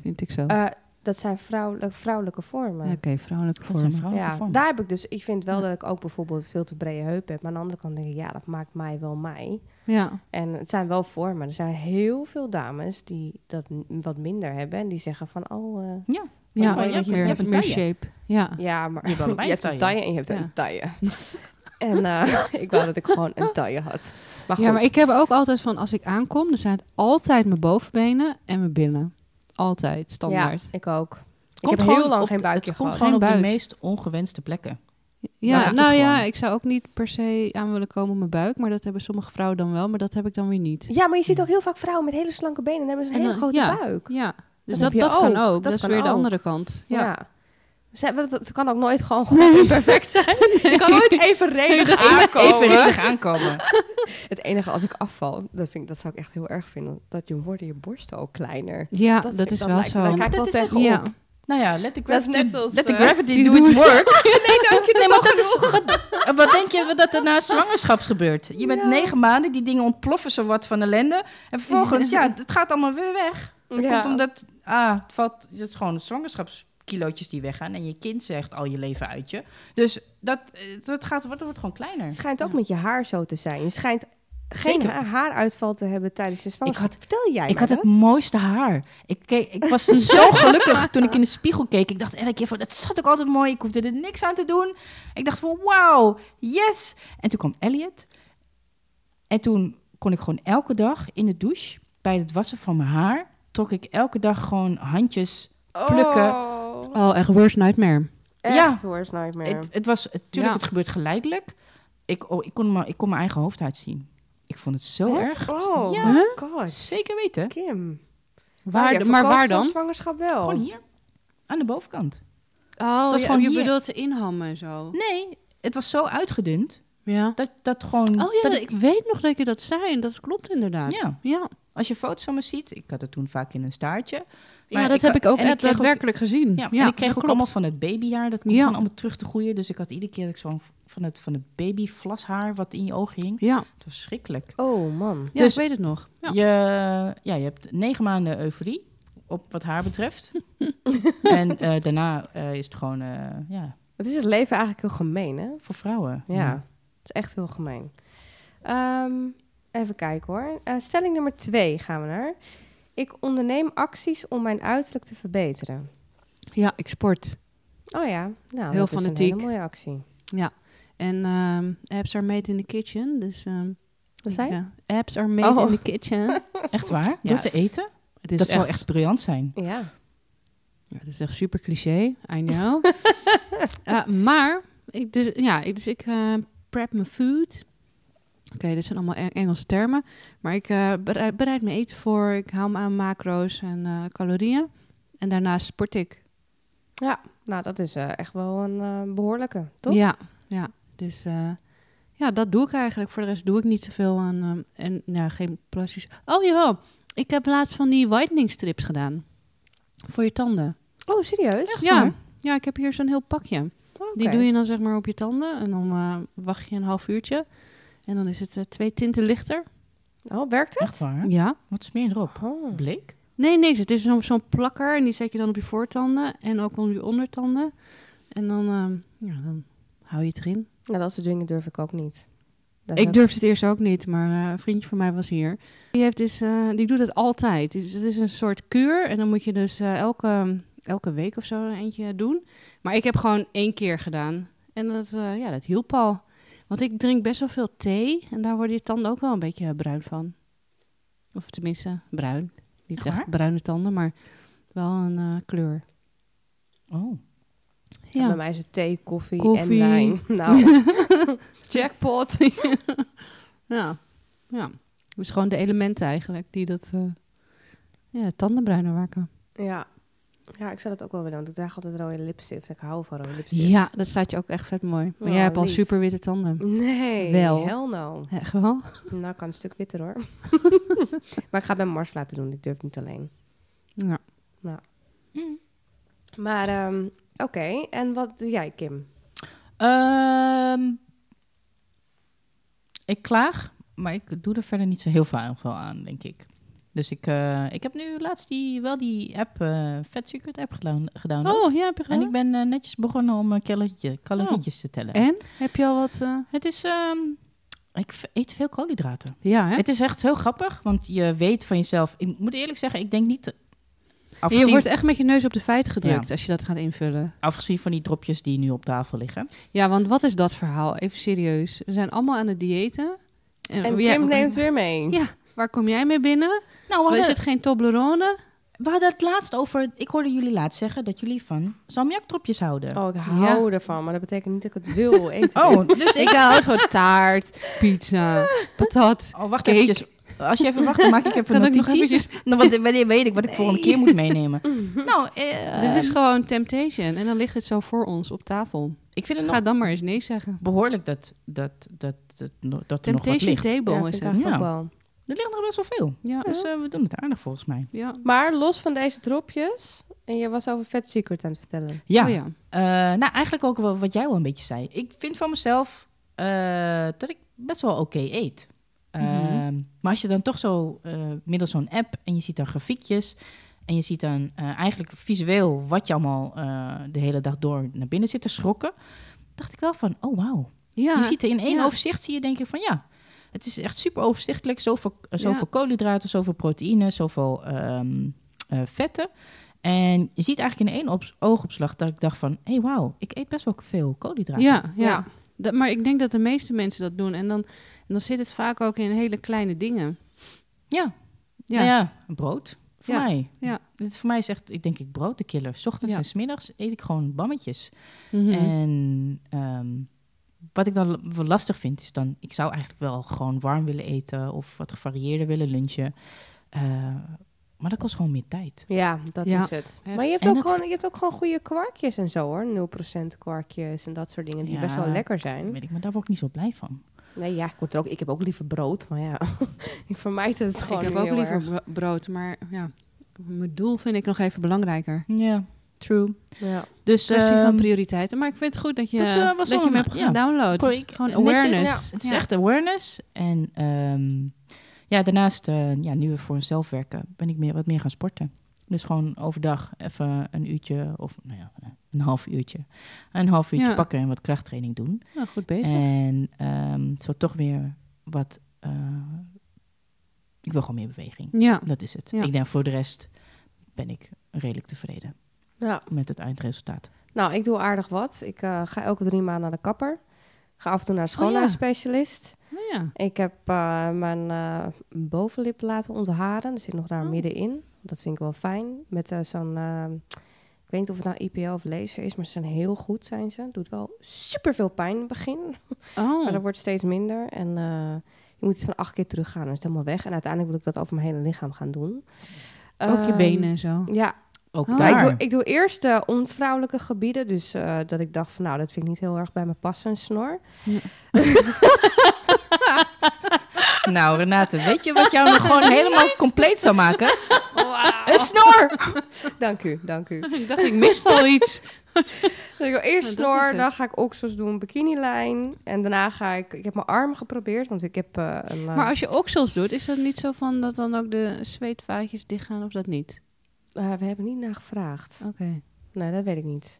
Speaker 2: Vind ik zo.
Speaker 1: Eh, dat zijn vrouwelijke, vrouwelijke vormen.
Speaker 2: Ja, Oké, vrouwelijke
Speaker 3: Dat zijn
Speaker 2: vormen.
Speaker 1: Ja,
Speaker 3: vrouwelijke vormen.
Speaker 1: daar heb ik dus. Ik vind wel dat ik ook bijvoorbeeld veel te brede heupen heb. Maar aan de andere kant denk ik, ja, dat maakt mij wel mij.
Speaker 2: Ja.
Speaker 1: En het zijn wel vormen. Er zijn heel veel dames die dat n- wat minder hebben. En die zeggen van, oh, eh,
Speaker 3: Ja.
Speaker 2: Ja,
Speaker 1: maar je hebt-
Speaker 2: meer,
Speaker 1: je hebt
Speaker 3: een
Speaker 2: meer
Speaker 3: taille.
Speaker 2: shape. Ja.
Speaker 1: ja, maar
Speaker 3: Ah, Je hebt allebei
Speaker 1: je hebt
Speaker 3: een
Speaker 1: een
Speaker 3: taille.
Speaker 1: taille en je hebt
Speaker 2: Ja.
Speaker 1: een taille. en eh, ik wou dat ik gewoon een taille had. Maar goed.
Speaker 2: Ja, maar ik heb ook altijd van als ik aankom, dan zijn het altijd mijn bovenbenen en mijn binnen. Altijd, standaard.
Speaker 1: Ja, ik ook.
Speaker 3: Komt
Speaker 1: ik heb heel
Speaker 3: gewoon
Speaker 1: lang
Speaker 3: op
Speaker 1: geen Oh,
Speaker 3: de-
Speaker 1: buikje
Speaker 3: Het
Speaker 1: gehad.
Speaker 3: komt
Speaker 2: Geen
Speaker 3: gewoon op de
Speaker 2: buik.
Speaker 3: meest ongewenste plekken. Daar
Speaker 2: Ja,
Speaker 3: ligt
Speaker 2: nou
Speaker 3: het
Speaker 2: ja,
Speaker 3: gewoon.
Speaker 2: ik zou ook niet per se aan willen komen op mijn buik. Maar dat hebben sommige vrouwen dan wel. Maar dat heb ik dan weer niet.
Speaker 1: Ja, maar je ziet ook heel vaak vrouwen met hele slanke benen en hebben ze een
Speaker 2: En
Speaker 1: hele
Speaker 2: dan-
Speaker 1: grote
Speaker 2: ja.
Speaker 1: buik.
Speaker 2: Ja, dus
Speaker 1: heb
Speaker 2: dat,
Speaker 1: je
Speaker 2: dat, kan
Speaker 1: ook.
Speaker 2: ook.
Speaker 1: Dat
Speaker 2: Dat, is
Speaker 1: kan
Speaker 2: weer de
Speaker 1: ook.
Speaker 2: andere kant. Ja.
Speaker 1: Ja. Ze hebben- dat- Het kan ook nooit gewoon goed en perfect zijn. Je kan nooit evenredig aankomen.
Speaker 3: Evenredig aankomen.
Speaker 1: Het enige als ik afval, dat, vind ik, dat zou ik echt heel erg vinden, dat je worden je borsten ook kleiner.
Speaker 2: Ja,
Speaker 1: Dat
Speaker 2: dat,
Speaker 1: vind-
Speaker 2: is
Speaker 1: dat
Speaker 2: wel
Speaker 1: lijkt me-
Speaker 2: zo.
Speaker 1: daar kijk ik wel
Speaker 2: dat is
Speaker 1: tegenop.
Speaker 2: ja.
Speaker 3: Nou ja, let the
Speaker 1: Dat is
Speaker 3: gravity,
Speaker 1: net zoals,
Speaker 3: let the
Speaker 1: eh,
Speaker 3: gravity
Speaker 1: die
Speaker 3: do its work.
Speaker 1: Nee, dank je.
Speaker 3: Nee, maar dat is wat- Wat denk je dat er na zwangerschap gebeurt? Je bent
Speaker 1: Ja.
Speaker 3: negen maanden, die dingen ontploffen zo wat van ellende. En vervolgens, ja, het gaat allemaal weer weg. Dat
Speaker 1: Ja.
Speaker 3: komt omdat, ah, het valt, het is gewoon zwangerschapskilootjes die weggaan. En je kind zegt al je leven uit je. Dus dat, eh, dat, gaat, dat wordt gewoon kleiner.
Speaker 1: Het schijnt ook
Speaker 3: Ja.
Speaker 1: met je haar zo te zijn. Je schijnt geen
Speaker 3: Zeker.
Speaker 1: ha- haaruitval te hebben tijdens je zwangerschap.
Speaker 3: had-
Speaker 1: Vertel jij
Speaker 3: Ik
Speaker 1: mij
Speaker 3: had het
Speaker 1: dat?
Speaker 3: mooiste haar. Ik, keek, ik was zo gelukkig toen ik in de spiegel keek. Ik dacht elke keer van, dat zat ook altijd mooi. Ik hoefde er niks aan te doen. Ik dacht van, wauw, yes. En toen kwam Elliot. En toen kon ik gewoon elke dag in de douche, bij het wassen van mijn haar, trok ik elke dag gewoon handjes. plukken.
Speaker 1: Oh,
Speaker 2: Oh, echt worst nightmare.
Speaker 1: echt worst nightmare.
Speaker 3: Het, het was, natuurlijk,
Speaker 2: Ja.
Speaker 3: het gebeurt geleidelijk. Ik, oh, ik, kon mijn, ik kon mijn eigen hoofd uitzien. Ik vond het zo erg.
Speaker 1: Oh,
Speaker 3: Ja.
Speaker 1: my god.
Speaker 3: Zeker weten.
Speaker 1: Kim. Nou
Speaker 2: Waar,
Speaker 1: jij
Speaker 2: de- maar
Speaker 1: verkoopt
Speaker 2: waar
Speaker 1: zo'n
Speaker 2: dan?
Speaker 1: zwangerschap wel.
Speaker 3: Gewoon hier, aan de bovenkant.
Speaker 2: Oh,
Speaker 3: Dat is gewoon
Speaker 2: je
Speaker 3: hier.
Speaker 2: bedoelt te inhammen en zo.
Speaker 3: Nee, het was zo uitgedund.
Speaker 2: Ja.
Speaker 3: Dat, dat gewoon.
Speaker 2: Oh ja,
Speaker 3: dat
Speaker 2: dat- ik weet nog dat je dat zei. En dat klopt inderdaad.
Speaker 3: Ja.
Speaker 2: ja.
Speaker 3: als je foto's van me ziet, ik had het toen vaak in een staartje.
Speaker 2: Ja,
Speaker 3: Maar
Speaker 2: dat
Speaker 3: ik-
Speaker 2: heb ik ook
Speaker 3: en ik
Speaker 2: echt
Speaker 3: kreeg ook-
Speaker 2: daadwerkelijk gezien.
Speaker 3: Ja, en ik kreeg ook
Speaker 2: Hm, dat klopt.
Speaker 3: allemaal van het babyhaar. Dat kon
Speaker 2: Ja.
Speaker 3: gewoon allemaal terug te groeien. Dus ik had iedere keer dat ik zo'n van het, van het babyvlashaar wat in je ogen hing.
Speaker 2: Ja,
Speaker 3: Het was verschrikkelijk.
Speaker 1: Oh man.
Speaker 2: ja
Speaker 3: Dus-
Speaker 2: ik weet het nog. Ja.
Speaker 3: Je, ja, je hebt negen maanden euforie, op wat haar betreft. en eh, daarna eh, is het gewoon eh, ja,
Speaker 1: Wat is het leven eigenlijk heel gemeen, hè?
Speaker 3: voor vrouwen.
Speaker 1: Ja, het is echt heel gemeen. Ehm, even kijken hoor. Eh, stelling nummer twee gaan we naar. Ik onderneem acties om mijn uiterlijk te verbeteren.
Speaker 2: ja, ik sport.
Speaker 1: Oh ja, nou,
Speaker 2: Heel
Speaker 1: dat is een
Speaker 2: fanatiek.
Speaker 1: hele mooie actie.
Speaker 2: En ehm, apps are made in the kitchen. Dus, ehm,
Speaker 1: Wat zei je?
Speaker 2: ja, apps are made
Speaker 1: Oh.
Speaker 2: in the kitchen.
Speaker 3: Echt waar?
Speaker 2: Ja.
Speaker 3: Door te eten?
Speaker 2: Het is
Speaker 3: dat zou echt briljant zijn.
Speaker 1: Ja.
Speaker 2: Ja, het is echt super cliché, I know. Eh, maar, ik, dus, ja, ik, dus ik eh, prep mijn food. Oké, dit zijn allemaal Eng- Engelse termen. Maar ik eh, bereid, bereid mijn eten voor. Ik hou me aan macro's en eh, calorieën. En daarnaast sport ik.
Speaker 1: Nou, dat is eh, echt wel een eh, behoorlijke, toch?
Speaker 2: Ja, ja. Dus eh, ja, dat doe ik eigenlijk. Voor de rest doe ik niet zoveel aan... ehm, en ja, geen plastic... Oh, jawel. Ik heb laatst van die whitening strips gedaan. Voor je tanden.
Speaker 1: Oh, serieus? Oh,
Speaker 2: ja,
Speaker 3: waar?
Speaker 2: ja, ik heb hier zo'n heel pakje.
Speaker 1: Oké.
Speaker 2: Die doe je dan zeg maar op je tanden en dan eh, wacht je een half uurtje. En dan is het eh, twee tinten lichter.
Speaker 1: Oh, werkt het?
Speaker 3: Echt waar?
Speaker 2: Ja.
Speaker 3: Wat smeer je erop?
Speaker 1: Oh.
Speaker 3: Bleek?
Speaker 2: Nee, niks. Het is zo'n zo'n plakker en die zet je dan op je voortanden en ook op je ondertanden. En dan, ehm, ja, dan hou je het erin.
Speaker 1: Nou, dat soort dingen durf ik ook niet. Dat is
Speaker 2: Ik
Speaker 1: ook-
Speaker 2: durfde het eerst ook niet, maar eh, een vriendje van mij was hier. Die, heeft dus, eh, die doet het altijd. Dus het is een soort kuur en dan moet je dus eh, elke, elke week of zo er eentje doen. Maar ik heb gewoon één keer gedaan. En dat, eh, ja, dat hielp al. Want ik drink best wel veel thee en daar worden je tanden ook wel een beetje eh, bruin van. Of tenminste, bruin. Niet
Speaker 3: Echt
Speaker 2: echt
Speaker 3: waar?
Speaker 2: bruine tanden, maar wel een eh, kleur.
Speaker 3: Oh.
Speaker 1: Ja, Bij
Speaker 2: Ja.
Speaker 1: mij is het thee, koffie,
Speaker 2: Koffie.
Speaker 1: en wijn. Nou, jackpot.
Speaker 2: ja. Ja. Dus gewoon de elementen eigenlijk die dat eh ja, tanden bruiner maken.
Speaker 1: Ja. Ja, ik zou dat ook wel willen, want ik draag altijd rode lipstift. Ik hou van rode lipstift.
Speaker 2: Ja, dat staat je ook echt vet mooi. Maar
Speaker 1: Oh,
Speaker 2: jij hebt al
Speaker 1: lief.
Speaker 2: super witte tanden.
Speaker 1: Nee,
Speaker 2: Wel.
Speaker 1: hell no.
Speaker 2: Echt wel?
Speaker 1: Nou, ik kan een stuk witter hoor. maar ik ga het bij Mars laten doen, ik durf het niet alleen.
Speaker 2: Ja.
Speaker 1: Maar, ehm, oké, en wat doe jij, Kim?
Speaker 3: Ehm, ik klaag, maar ik doe er verder niet zo heel veel veel aan, denk ik. Dus ik, eh, ik heb nu laatst die, wel die app, eh Fat Secret app gedown- gedownload.
Speaker 2: Oh, ja, heb je
Speaker 3: en
Speaker 2: gedaan?
Speaker 3: ik ben eh, netjes begonnen om eh, calorietje- calorietjes
Speaker 2: Oh.
Speaker 3: te tellen.
Speaker 2: En? Heb je al wat... eh,
Speaker 3: Het is, ehm, ik v- eet veel koolhydraten.
Speaker 2: Ja, hè?
Speaker 3: Het is echt heel grappig, want je weet van jezelf. Ik moet eerlijk zeggen, ik denk niet. eh,
Speaker 2: je
Speaker 3: Afgezien,
Speaker 2: wordt echt met je neus op de feiten gedrukt als je dat gaat invullen.
Speaker 3: afgezien van die dropjes die nu op tafel liggen.
Speaker 2: Ja, want wat is dat verhaal? Even serieus. We zijn allemaal aan het diëten.
Speaker 1: En
Speaker 2: ja,
Speaker 1: Kim neemt weer mee.
Speaker 2: Ja. Waar kom jij mee binnen?
Speaker 3: Nou, we
Speaker 2: Is
Speaker 3: hadden-
Speaker 2: het geen Toblerone?
Speaker 3: We hadden het laatst over... Ik hoorde jullie laatst zeggen dat jullie van salmiakdropjes houden.
Speaker 1: Oh, ik hou ervan, maar dat betekent niet dat ik het wil eten.
Speaker 3: Oh, dus
Speaker 2: Ik hou gewoon taart, pizza, patat.
Speaker 3: Oh, wacht
Speaker 2: Cake.
Speaker 3: eventjes. Als je even wacht, dan maak ik even
Speaker 2: Kan ik nog
Speaker 3: notities. Dan wat, wanneer weet ik wat ik volgende keer moet meenemen. nou, eh,
Speaker 2: Dit is gewoon Temptation. En dan ligt het zo voor ons op tafel.
Speaker 3: ik vind het nog
Speaker 2: Ga dan maar eens nee zeggen.
Speaker 3: behoorlijk dat, dat, dat, dat, dat, dat er nog wat
Speaker 2: Temptation
Speaker 3: ligt.
Speaker 2: Table
Speaker 1: ja,
Speaker 2: is
Speaker 1: vind ik
Speaker 2: het.
Speaker 1: eigenlijk
Speaker 3: Ja.
Speaker 1: ook wel.
Speaker 3: Er ligt nog best wel veel.
Speaker 2: Ja.
Speaker 3: Dus eh, we doen het aardig volgens mij.
Speaker 2: ja.
Speaker 1: Maar los van deze dropjes, en je was over Fat Secret aan het vertellen.
Speaker 3: Ja,
Speaker 2: Oh ja.
Speaker 3: Eh, nou eigenlijk ook wel wat jij al een beetje zei. Ik vind van mezelf eh, dat ik best wel oké eet. Eh,
Speaker 2: Mhm.
Speaker 3: Maar als je dan toch zo eh, middels zo'n app en je ziet dan grafiekjes en je ziet dan eh, eigenlijk visueel wat je allemaal eh, de hele dag door naar binnen zit te schrokken, dacht ik wel van, oh wauw.
Speaker 2: Ja.
Speaker 3: Je ziet er in één
Speaker 2: Ja.
Speaker 3: overzicht, zie je denk je van ja, het is echt super overzichtelijk. Zoveel, eh,
Speaker 2: Ja.
Speaker 3: zoveel koolhydraten, zoveel proteïne, zoveel ehm, eh, vetten. En je ziet eigenlijk in één op- oogopslag dat ik dacht van... hé, hey, wauw, ik eet best wel veel koolhydraten.
Speaker 2: Ja, ja.
Speaker 1: Ja.
Speaker 2: Dat, maar ik denk dat de meeste mensen dat doen. En dan, en dan zit het vaak ook in hele kleine dingen.
Speaker 3: Ja,
Speaker 2: Ja.
Speaker 3: Nou ja, een brood. Voor
Speaker 2: Ja,
Speaker 3: mij.
Speaker 2: ja.
Speaker 3: Dit voor mij is echt, ik denk ik, brood de killer. 's ochtends
Speaker 2: Ja.
Speaker 3: en 's middags eet ik gewoon bammetjes.
Speaker 2: Mhm.
Speaker 3: Eh, En ehm, wat ik dan l- wel lastig vind, is dan... Ik zou eigenlijk wel gewoon warm willen eten of wat gevarieerder willen lunchen. Eh, maar dat kost gewoon meer tijd.
Speaker 1: Ja, dat
Speaker 2: Ja,
Speaker 1: is het.
Speaker 2: echt.
Speaker 1: Maar je hebt,
Speaker 3: En
Speaker 1: ook
Speaker 3: het-
Speaker 1: gewoon, je hebt ook gewoon goede kwarkjes en zo hoor. 0% kwarkjes en dat soort dingen die
Speaker 3: Ja.
Speaker 1: best wel lekker zijn.
Speaker 3: Weet ik, maar daar word ik niet zo blij van.
Speaker 1: Nee, ja, ik, word er ook, ik heb ook liever brood, maar ja, ik vermijd het gewoon
Speaker 2: Ik heb
Speaker 1: heel
Speaker 2: ook liever
Speaker 1: erg.
Speaker 2: bro- brood, maar ja, mijn doel vind ik nog even belangrijker.
Speaker 3: Ja, true.
Speaker 1: Ja.
Speaker 3: Dus
Speaker 2: Kwestie
Speaker 3: ehm,
Speaker 2: van prioriteiten. Maar ik vind het goed dat je,
Speaker 3: dat,
Speaker 2: dat,
Speaker 3: eh, was wel
Speaker 2: je hem
Speaker 3: een-
Speaker 2: hebt
Speaker 3: ja.
Speaker 2: gedownload.
Speaker 3: Pro- ik-
Speaker 2: Gewoon
Speaker 3: netjes.
Speaker 2: awareness.
Speaker 3: Ja, het is echt awareness. En ehm, ja, daarnaast, eh, ja, nu we voor onszelf werken, ben ik meer, wat meer gaan sporten. Dus gewoon overdag even een uurtje of nou ja, een half uurtje. Een half uurtje
Speaker 2: Ja.
Speaker 3: pakken en wat krachttraining doen.
Speaker 2: Nou, goed bezig.
Speaker 1: Eh,
Speaker 3: En ehm, zo toch weer wat... eh, ik wil gewoon meer beweging.
Speaker 2: ja.
Speaker 3: Dat is het.
Speaker 2: Ja.
Speaker 3: Ik denk voor de rest ben ik redelijk tevreden
Speaker 1: ja.
Speaker 3: met het eindresultaat.
Speaker 1: Nou, ik doe aardig wat. Ik eh, ga elke drie maanden naar de kapper. Ga af en toe naar een
Speaker 2: Oh
Speaker 3: ja.
Speaker 1: schoonheidsspecialist.
Speaker 2: Nou ja.
Speaker 1: Ik heb eh, mijn eh, bovenlip laten ontharen. Dus zit nog daar
Speaker 2: Oh.
Speaker 1: middenin. Dat vind ik wel fijn. Met eh, zo'n, eh, ik weet niet of het nou IPL of laser is, maar ze zijn heel goed zijn ze. Doet wel superveel pijn in het begin. Maar
Speaker 2: Oh,
Speaker 1: dat wordt steeds minder. En eh, je moet iets van acht keer teruggaan. Dan is het helemaal weg. En uiteindelijk wil ik dat over mijn hele lichaam gaan doen.
Speaker 2: ook je
Speaker 1: Ehm,
Speaker 2: benen en zo.
Speaker 1: Ja,
Speaker 3: Ook
Speaker 2: Ah.
Speaker 1: maar
Speaker 3: daar.
Speaker 1: ik, doe, ik doe eerst de onvrouwelijke gebieden. Dus eh, dat ik dacht van nou, dat vind ik niet heel erg bij me passen, een snor.
Speaker 3: Nou, Renate, weet je wat jou nog gewoon helemaal compleet zou maken? Een snor!
Speaker 1: Dus, Dank u, dank u.
Speaker 2: ik dacht, ik mis al iets.
Speaker 1: Dus ik wil eerst
Speaker 2: Nou, dat is
Speaker 1: snor,
Speaker 2: het.
Speaker 1: dan ga ik oksels doen, bekinilijn. En daarna ga ik... Ik heb mijn armen geprobeerd, want ik heb eh, een... eh,
Speaker 2: Maar als je oksels doet, is dat niet zo van dat dan ook de zweetvaatjes dichtgaan of dat niet?
Speaker 1: eh, we hebben niet naar gevraagd.
Speaker 2: Oké.
Speaker 1: Oh. Nee, dat weet ik niet.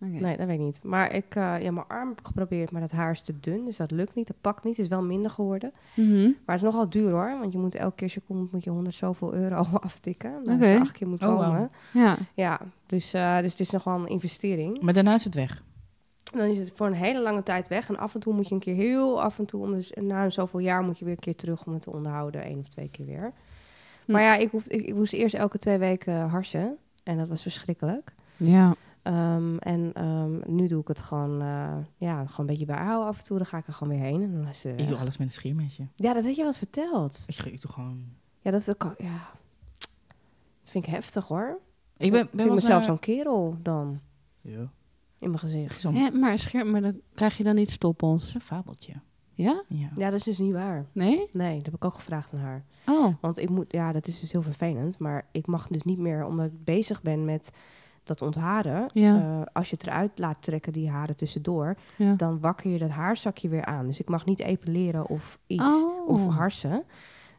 Speaker 2: Oké.
Speaker 1: Nee, dat weet ik niet. Maar ik, eh, ja, mijn arm heb ik geprobeerd, maar dat haar is te dun. Dus dat lukt niet, dat pakt niet. Het is wel minder geworden.
Speaker 2: Mhm.
Speaker 1: Maar het is nogal duur hoor. Want je moet elke keer als je komt, moet je honderd zoveel euro aftikken. Als
Speaker 2: Oké.
Speaker 1: je acht keer moet
Speaker 3: Oh,
Speaker 1: komen.
Speaker 3: wauw.
Speaker 2: Ja.
Speaker 1: Ja, dus, eh, dus het is nog wel een investering.
Speaker 3: Maar daarna is het weg.
Speaker 1: Dan is het voor een hele lange tijd weg. En af en toe moet je een keer heel af en toe, om dus, na zoveel jaar moet je weer een keer terug om het te onderhouden. één of twee keer weer.
Speaker 3: Hm.
Speaker 1: Maar ja, ik, hoef, ik, ik moest eerst elke twee weken eh, harsen. En dat was verschrikkelijk.
Speaker 2: Ja.
Speaker 1: Ehm, en ehm, nu doe ik het gewoon, eh, ja, gewoon een beetje bijhouden af en toe. Dan ga ik er gewoon weer heen. En dan is het
Speaker 3: Ik
Speaker 1: weg.
Speaker 3: doe alles met een scheermesje.
Speaker 1: Ja, dat had je wel eens verteld.
Speaker 3: Ik, ge- ik doe gewoon...
Speaker 1: Ja, dat, is ook al- ja. dat vind ik heftig hoor.
Speaker 3: Ik ben, ben
Speaker 1: vind
Speaker 3: wel
Speaker 1: ik
Speaker 3: eens
Speaker 1: mezelf
Speaker 3: naar-
Speaker 1: zo'n kerel dan
Speaker 3: Ja.
Speaker 1: in mijn gezicht.
Speaker 3: Zo'n-
Speaker 2: Hè, maar scherm, maar dan krijg je dan niet stoppels.
Speaker 3: Een fabeltje.
Speaker 2: Ja?
Speaker 3: Ja.
Speaker 1: Ja, dat is dus niet waar.
Speaker 2: Nee?
Speaker 1: Nee, dat heb ik ook gevraagd aan haar.
Speaker 2: Oh.
Speaker 1: Want ik moet, ja, dat is dus heel vervelend. Maar ik mag dus niet meer, omdat ik bezig ben met dat ontharen.
Speaker 2: Ja.
Speaker 1: eh, als je het eruit laat trekken, die haren tussendoor,
Speaker 2: Ja.
Speaker 1: dan wakker je dat haarzakje weer aan. Dus ik mag niet epileren of iets.
Speaker 2: Oh.
Speaker 1: Of harsen.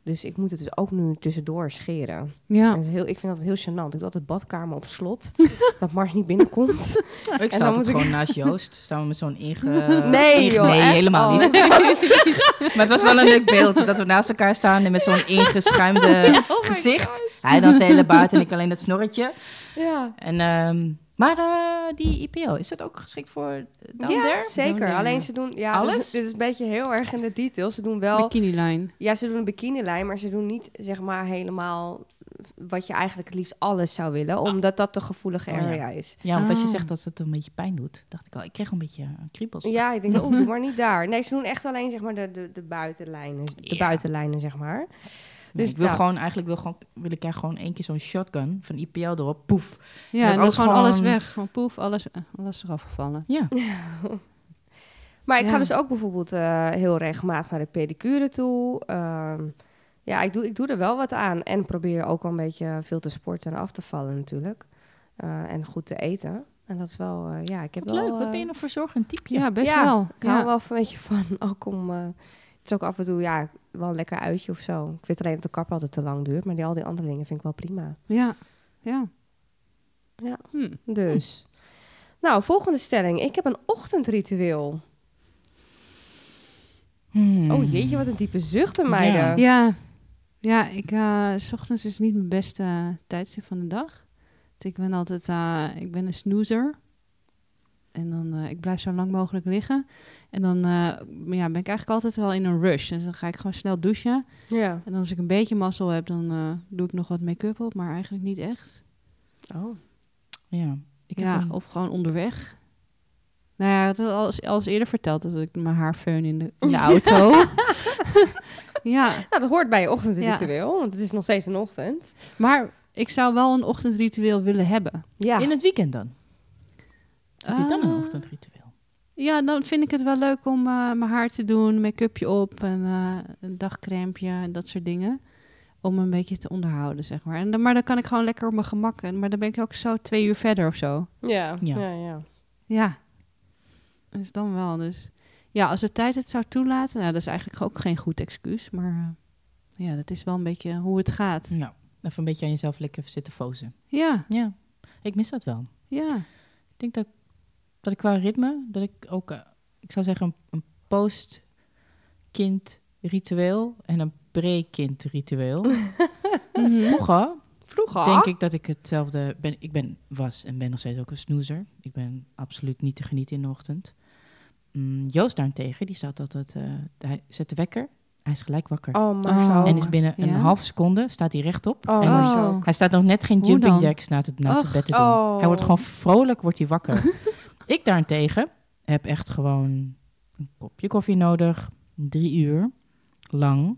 Speaker 1: Dus ik moet het dus ook nu tussendoor scheren. En
Speaker 2: Ja.
Speaker 1: dat is heel, ik vind dat heel gênant. Ik doe altijd badkamer op slot. dat Mars niet binnenkomt.
Speaker 3: Ik
Speaker 1: dan
Speaker 3: sta altijd
Speaker 1: moet ik-
Speaker 3: gewoon naast Joost. Staan we met zo'n inge...
Speaker 1: Nee,
Speaker 3: inge-
Speaker 1: joh,
Speaker 3: Nee,
Speaker 1: echt?
Speaker 3: helemaal
Speaker 1: Oh.
Speaker 3: niet. Maar het was wel een leuk beeld. Dat we naast elkaar staan en met zo'n ingeschuimde gezicht. Hij dan zijn hele baard en ik alleen dat snorretje.
Speaker 1: Ja,
Speaker 3: En, ehm, maar eh, die IPO, is dat ook geschikt voor eh, down there? Down
Speaker 1: zeker.
Speaker 3: there.
Speaker 1: Alleen ze doen... Ja,
Speaker 3: Alles?
Speaker 1: Dit, is, dit is een beetje heel erg in de details. Ze doen wel...
Speaker 2: Bikini line.
Speaker 1: Ja, ze doen een bikinilijn, maar ze doen niet zeg maar helemaal wat je eigenlijk het liefst alles zou willen, omdat dat de gevoelige
Speaker 3: Ah. Oh, ja.
Speaker 1: area is.
Speaker 3: Ja, want als je
Speaker 2: Ah.
Speaker 3: zegt dat het een beetje pijn doet, dacht ik al, ik kreeg een beetje eh, kriebels.
Speaker 1: Ja, ik denk, oh, doe maar niet daar. Nee, ze doen echt alleen zeg maar de, de, de buitenlijnen, de
Speaker 3: Ja.
Speaker 1: buitenlijnen zeg maar.
Speaker 3: Dus
Speaker 1: Dus
Speaker 3: ik wil
Speaker 1: ja.
Speaker 3: gewoon, eigenlijk wil, gewoon, wil ik eigenlijk gewoon één keer zo'n shotgun van IPL erop, poef.
Speaker 2: Ja, en dan
Speaker 3: alles
Speaker 2: gewoon alles
Speaker 3: gewoon-
Speaker 2: weg. Gewoon poef, alles, eh, alles eraf gevallen.
Speaker 3: Ja.
Speaker 1: Maar ik ga
Speaker 2: Ja.
Speaker 1: dus ook bijvoorbeeld eh, heel regelmatig naar de pedicure toe. Ehm, ja, ik doe, ik doe er wel wat aan. En probeer ook wel een beetje veel te sporten en af te vallen natuurlijk. Eh, en goed te eten. En dat is wel, eh, ja, ik heb
Speaker 3: Wat
Speaker 1: wel...
Speaker 3: leuk, wat
Speaker 1: eh,
Speaker 3: ben je nog voor zorgend type?
Speaker 2: Ja, best
Speaker 1: Ja,
Speaker 2: wel.
Speaker 1: Ik hou
Speaker 2: Ja.
Speaker 1: er wel een beetje van, ook om... eh, het is ook af en toe, ja, wel een lekker uitje of zo. Ik weet alleen dat de kap altijd te lang duurt. Maar die, al die andere dingen vind ik wel prima.
Speaker 2: Ja, ja.
Speaker 1: Ja.
Speaker 2: Hm.
Speaker 1: Dus... Nou, volgende stelling. Ik heb een ochtendritueel.
Speaker 3: Hmm.
Speaker 1: Oh jeetje, wat een diepe zucht
Speaker 3: Ja.
Speaker 1: in meiden.
Speaker 2: Ja, ja ik, eh, s ochtends is niet mijn beste eh, tijdstip van de dag. Want Ik ben altijd, eh, ik ben een snoezer. En dan, eh, ik blijf zo lang mogelijk liggen. En dan eh, ja, ben ik eigenlijk altijd wel in een rush. Dus dan ga ik gewoon snel douchen.
Speaker 1: ja.
Speaker 2: En als ik een beetje mazzel heb, dan eh, doe ik nog wat make-up op. Maar eigenlijk niet echt.
Speaker 1: Oh.
Speaker 3: Ja. Ik heb
Speaker 2: ja,
Speaker 3: een-
Speaker 2: of gewoon onderweg. Nou ja, ik had al als, als eerder verteld dat ik mijn haar feun in de, in de auto. ja,
Speaker 1: Nou, dat hoort bij je ochtendritueel, want het is nog steeds een ochtend.
Speaker 2: maar ik zou wel een ochtendritueel willen hebben.
Speaker 1: Ja.
Speaker 3: In het weekend dan? Heb je dan een
Speaker 2: Ah.
Speaker 3: ochtendritueel?
Speaker 2: Ja, dan vind ik het wel leuk om eh, mijn haar te doen, make-upje op, en, eh, een dagcrèmeje en dat soort dingen. Om een beetje te onderhouden, zeg maar. En dan, maar dan kan ik gewoon lekker op mijn gemak. En, maar dan ben ik ook zo twee uur verder of zo.
Speaker 1: ja.
Speaker 3: Ja.
Speaker 1: Ja. ja, ja.
Speaker 2: Ja. Dus dan wel. Dus ja, als de tijd het zou toelaten, nou, dat is eigenlijk ook geen goed excuus. Maar eh, ja, dat is wel een beetje hoe het gaat.
Speaker 3: Nou, even een beetje aan jezelf lekker zitten fozen.
Speaker 2: Ja,
Speaker 3: Ja, ik mis dat wel.
Speaker 2: ja.
Speaker 3: Ik denk dat, dat ik qua ritme, dat ik ook, eh, ik zou zeggen, een, een post-kind ritueel en een pre-kind ritueel.
Speaker 2: Mhm.
Speaker 3: Vroeger
Speaker 1: Vroeger.
Speaker 3: denk ik dat ik hetzelfde ben. Ik ben, was en ben nog steeds ook een snoezer. Ik ben absoluut niet te genieten in de ochtend. Mm, Joost daarentegen, die staat altijd, eh, hij zet de wekker, hij is gelijk wakker.
Speaker 1: Oh, Marcel.
Speaker 2: Oh.
Speaker 3: en is binnen een
Speaker 2: Ja?
Speaker 3: half seconde, staat hij rechtop.
Speaker 1: Oh,
Speaker 3: en dan
Speaker 1: Marcel.
Speaker 3: Hij staat nog net geen
Speaker 2: Hoe
Speaker 3: jumping
Speaker 2: dan?
Speaker 3: jacks naast het, naast het
Speaker 2: Och.
Speaker 3: bed te doen.
Speaker 1: Oh.
Speaker 3: Hij wordt gewoon vrolijk, wordt hij wakker. ik daarentegen heb echt gewoon een kopje koffie nodig, drie uur lang,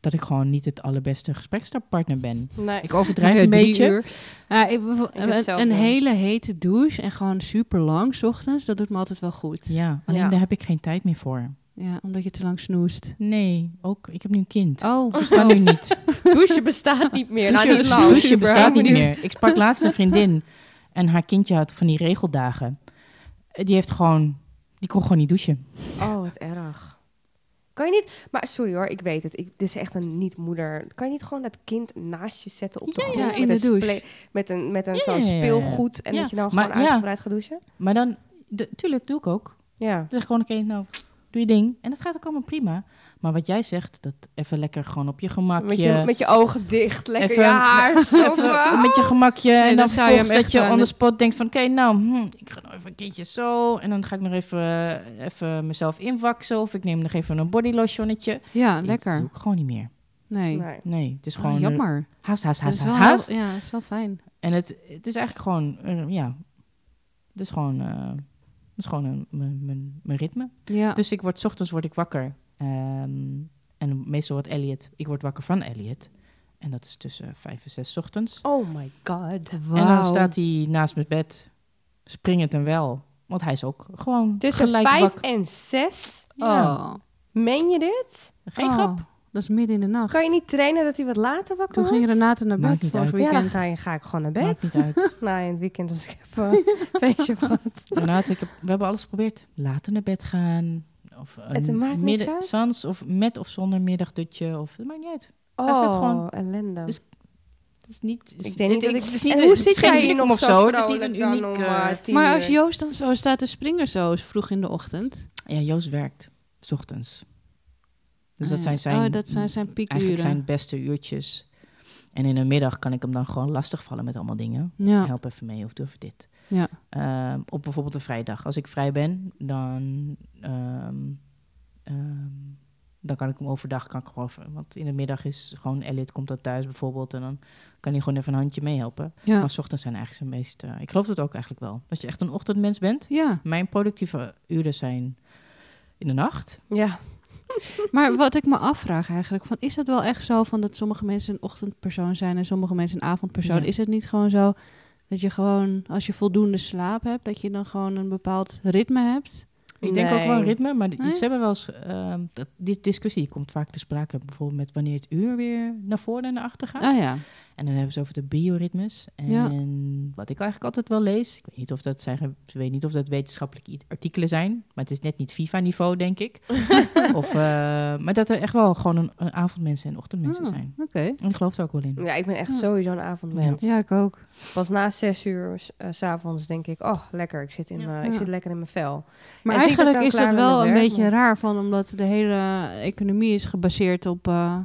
Speaker 3: dat ik gewoon niet het allerbeste gesprekspartner ben.
Speaker 1: Nee.
Speaker 3: Ik overdrijf een
Speaker 2: drie
Speaker 3: beetje.
Speaker 2: uur. Ja, ik bevo-
Speaker 1: heb
Speaker 2: een,
Speaker 1: hetzelfde.
Speaker 2: een hele hete douche en gewoon super lang 's ochtends, dat doet me altijd wel goed.
Speaker 3: Ja, alleen
Speaker 1: Ja.
Speaker 3: daar heb ik geen tijd meer voor.
Speaker 2: Ja, omdat je te lang snoest.
Speaker 3: Nee, ook ik heb nu een kind.
Speaker 2: Oh,
Speaker 3: Ik kan nu niet.
Speaker 1: douchen bestaat niet meer. nou, niet
Speaker 3: Oh. douchen,
Speaker 1: lang.
Speaker 3: douchen
Speaker 1: Ik ben
Speaker 3: bestaat niet
Speaker 1: benieuwd.
Speaker 3: meer. Ik sprak laatst een vriendin en haar kindje had van die regeldagen. Eh, Die heeft gewoon, die kon gewoon niet douchen.
Speaker 1: Oh, wat erg. Kan je niet... Maar sorry hoor, ik weet het. Ik, dit is echt een niet-moeder. Kan je niet gewoon dat kind naast je zetten op de
Speaker 2: Ja,
Speaker 1: grond?
Speaker 2: ja,
Speaker 1: met
Speaker 2: in de
Speaker 1: een
Speaker 2: douche.
Speaker 1: sple- Met een, met een
Speaker 3: Ja,
Speaker 1: zo'n
Speaker 3: ja, ja, ja.
Speaker 1: speelgoed. En
Speaker 3: Ja,
Speaker 1: dat je dan
Speaker 3: maar
Speaker 1: gewoon
Speaker 3: ja.
Speaker 1: uitgebreid gaat douchen?
Speaker 3: Maar dan, de, tuurlijk doe ik ook.
Speaker 1: Ja.
Speaker 3: Dan zeg ik gewoon, oké, nou, doe je ding. En dat gaat ook allemaal prima. Maar wat jij zegt, dat even lekker gewoon op je gemakje.
Speaker 1: Met je, met je ogen dicht. Lekker
Speaker 3: Even-
Speaker 1: je haar. zo
Speaker 3: even
Speaker 1: van-
Speaker 3: met je gemakje. en
Speaker 2: Ah! dan
Speaker 3: dan
Speaker 2: zou je hem
Speaker 3: vervolgens dat
Speaker 2: echt
Speaker 3: je
Speaker 2: aan
Speaker 3: on the
Speaker 2: de-
Speaker 3: spot denkt van, oké, nou, hm, ik ga nog even een keertje zo. En dan ga ik nog even, eh, even mezelf inwaksen. Of ik neem nog even een bodylotionnetje.
Speaker 2: ja,
Speaker 3: Dat
Speaker 2: lekker.
Speaker 3: doe ik gewoon niet meer.
Speaker 2: Nee.
Speaker 1: Nee.
Speaker 3: Nee, het is
Speaker 2: Oh,
Speaker 3: gewoon eh,
Speaker 2: jammer.
Speaker 3: haast, haast,
Speaker 2: Dat
Speaker 3: haast,
Speaker 2: is wel,
Speaker 3: haast, haast.
Speaker 2: Ja, dat is wel fijn.
Speaker 3: En het, het is eigenlijk gewoon, eh, ja, het is gewoon, eh, het is gewoon een, mijn, mijn, mijn ritme.
Speaker 2: Ja.
Speaker 3: Dus ik word, 's ochtends word ik wakker. Ehm, en meestal wordt Elliot, ik word wakker van Elliot. En dat is tussen vijf en zes 's ochtends.
Speaker 1: Oh my god.
Speaker 2: Wauw.
Speaker 3: En dan staat hij naast mijn bed, springend en wel. Want hij is ook gewoon
Speaker 1: Tussen
Speaker 3: gelijk
Speaker 1: vijf
Speaker 3: wakker.
Speaker 1: en zes?
Speaker 3: Ja.
Speaker 2: Oh.
Speaker 1: Meen je dit?
Speaker 3: Geen
Speaker 2: Oh,
Speaker 3: grap.
Speaker 2: Dat is midden in de nacht.
Speaker 1: Kan je niet trainen dat hij wat later wakker
Speaker 2: Toen ging
Speaker 1: wordt?
Speaker 2: Renate naar
Speaker 3: Maakt
Speaker 2: bed
Speaker 3: niet
Speaker 2: vorig
Speaker 3: uit.
Speaker 1: Ja,
Speaker 2: weekend.
Speaker 1: dan ga, je, ga ik gewoon naar bed.
Speaker 3: Maakt niet uit.
Speaker 1: Nou, in het weekend als ik heb eh, een feestje heb gehad.
Speaker 3: Renate, ik heb, we hebben alles geprobeerd. Later naar bed gaan. Of een
Speaker 1: Het maakt niks
Speaker 3: midden-
Speaker 1: uit.
Speaker 3: sans of met of zonder middagdutje. Of, het maakt niet uit.
Speaker 1: Oh,
Speaker 3: Hij zit gewoon-
Speaker 1: ellende.
Speaker 3: Dus- Het is niet... het is-
Speaker 1: Dus ik denk niet
Speaker 3: het-
Speaker 1: dat ik...
Speaker 3: het is niet
Speaker 1: en
Speaker 3: een-
Speaker 1: hoe
Speaker 3: het is
Speaker 1: zit
Speaker 3: geen
Speaker 1: jij hier
Speaker 3: unicum
Speaker 1: nog
Speaker 3: of
Speaker 1: zo
Speaker 3: zo? Het is niet een
Speaker 1: vrolijk dan
Speaker 3: uniek...
Speaker 1: om,
Speaker 3: eh,
Speaker 1: eh, tien
Speaker 2: maar als
Speaker 1: uur?
Speaker 2: Joost dan zo staat te springen zo is vroeg in de ochtend.
Speaker 3: Ja, Joost werkt 's ochtends. Dus
Speaker 2: Ah,
Speaker 3: dat
Speaker 2: ja.
Speaker 3: zijn zijn,
Speaker 2: Oh, dat zijn zijn piekuren.
Speaker 3: eigenlijk zijn beste uurtjes. En in de middag kan ik hem dan gewoon lastigvallen met allemaal dingen.
Speaker 2: Ja.
Speaker 3: Help even mee of doe even dit.
Speaker 2: Ja.
Speaker 3: Ehm, op bijvoorbeeld een vrijdag. Als ik vrij ben, dan ehm, ehm, Dan kan ik hem overdag, kan ik gewoon even- want in de middag is gewoon Elliot komt dan thuis bijvoorbeeld en dan kan hij gewoon even een handje meehelpen.
Speaker 2: Ja.
Speaker 3: Maar 's ochtends zijn eigenlijk zijn meest, eh, ik geloof dat ook eigenlijk wel. Als je echt een ochtendmens bent,
Speaker 2: ja,
Speaker 3: mijn productieve uren zijn in de nacht.
Speaker 1: Ja.
Speaker 2: maar wat ik me afvraag eigenlijk, van, is dat wel echt zo van dat sommige mensen een ochtendpersoon zijn en sommige mensen een avondpersoon?
Speaker 3: Ja.
Speaker 2: Is het niet gewoon zo dat je gewoon, als je voldoende slaap hebt, dat je dan gewoon een bepaald ritme hebt?
Speaker 3: Ik denk ook wel een
Speaker 1: Nee.
Speaker 3: ritme, maar die-
Speaker 2: Nee?
Speaker 3: ze hebben wel eens, ehm, dat, die discussie komt vaak te sprake bijvoorbeeld met wanneer het uur weer naar voren en naar achter gaat.
Speaker 2: Ah ja,
Speaker 3: En dan hebben ze over de bioritmes. En
Speaker 2: Ja.
Speaker 3: wat ik eigenlijk altijd wel lees, ik weet niet of dat, zijn, ge- ik weet niet of dat wetenschappelijke i- artikelen zijn, maar het is net niet FIFA-niveau, denk ik. of, eh, maar dat er echt wel gewoon een, een avondmensen en ochtendmensen
Speaker 2: Oh.
Speaker 3: zijn.
Speaker 2: oké.
Speaker 3: En ik geloof daar ook wel in.
Speaker 1: Ja, ik ben echt
Speaker 2: Ja.
Speaker 1: sowieso een avondmens.
Speaker 2: Ja, ik ook.
Speaker 1: Pas na zes uur s- eh, s s'avonds denk ik, oh lekker, ik zit, in,
Speaker 3: Ja.
Speaker 1: eh, ik
Speaker 2: Ja.
Speaker 1: zit lekker in mijn vel.
Speaker 2: Maar
Speaker 1: En zie ik dat
Speaker 2: eigenlijk
Speaker 1: dan
Speaker 2: is
Speaker 1: klaar
Speaker 2: dat
Speaker 1: met
Speaker 2: wel
Speaker 1: het
Speaker 2: een
Speaker 1: werk,
Speaker 2: beetje
Speaker 1: maar-
Speaker 2: raar van, omdat de hele economie is gebaseerd op eh,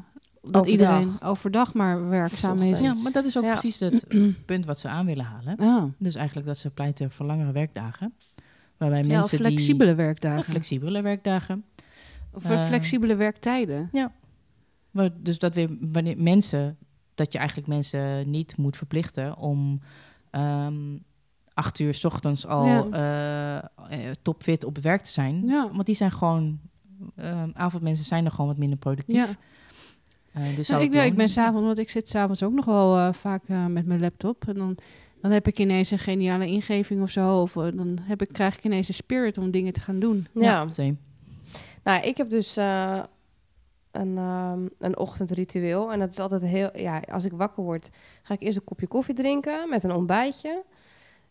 Speaker 2: dat
Speaker 1: Overdag.
Speaker 2: iedereen overdag maar werkzaam
Speaker 1: ochtends.
Speaker 2: is.
Speaker 3: Ja, maar dat is ook
Speaker 1: Ja.
Speaker 3: precies het punt wat ze aan willen halen.
Speaker 2: Ah.
Speaker 3: Dus eigenlijk dat ze pleiten voor langere werkdagen. Waarbij
Speaker 2: Ja, of
Speaker 3: mensen
Speaker 2: flexibele
Speaker 3: die...
Speaker 2: werkdagen.
Speaker 3: Of flexibele werkdagen.
Speaker 2: of
Speaker 3: eh,
Speaker 2: flexibele werktijden.
Speaker 3: Maar dus dat weer wanneer mensen, dat je eigenlijk mensen niet moet verplichten om ehm, acht uur 's ochtends al
Speaker 2: Ja.
Speaker 3: eh, eh, topfit op het werk te zijn.
Speaker 2: Ja.
Speaker 3: Want die zijn gewoon, ehm, avondmensen zijn er gewoon wat minder productief.
Speaker 2: Ja.
Speaker 3: Eh, dus
Speaker 2: Nou,
Speaker 3: zou
Speaker 2: ik, ja, ik
Speaker 3: doen.
Speaker 2: ben s'avonds, want ik zit s'avonds ook nog wel eh, vaak eh, met mijn laptop. En dan, dan heb ik ineens een geniale ingeving of zo. Of eh, dan heb ik, krijg ik ineens een spirit om dingen te gaan doen.
Speaker 1: Ja.
Speaker 3: Ja, same.
Speaker 1: Nou, ik heb dus eh, een, ehm, een ochtendritueel. En dat is altijd heel... Ja, als ik wakker word, ga ik eerst een kopje koffie drinken met een ontbijtje.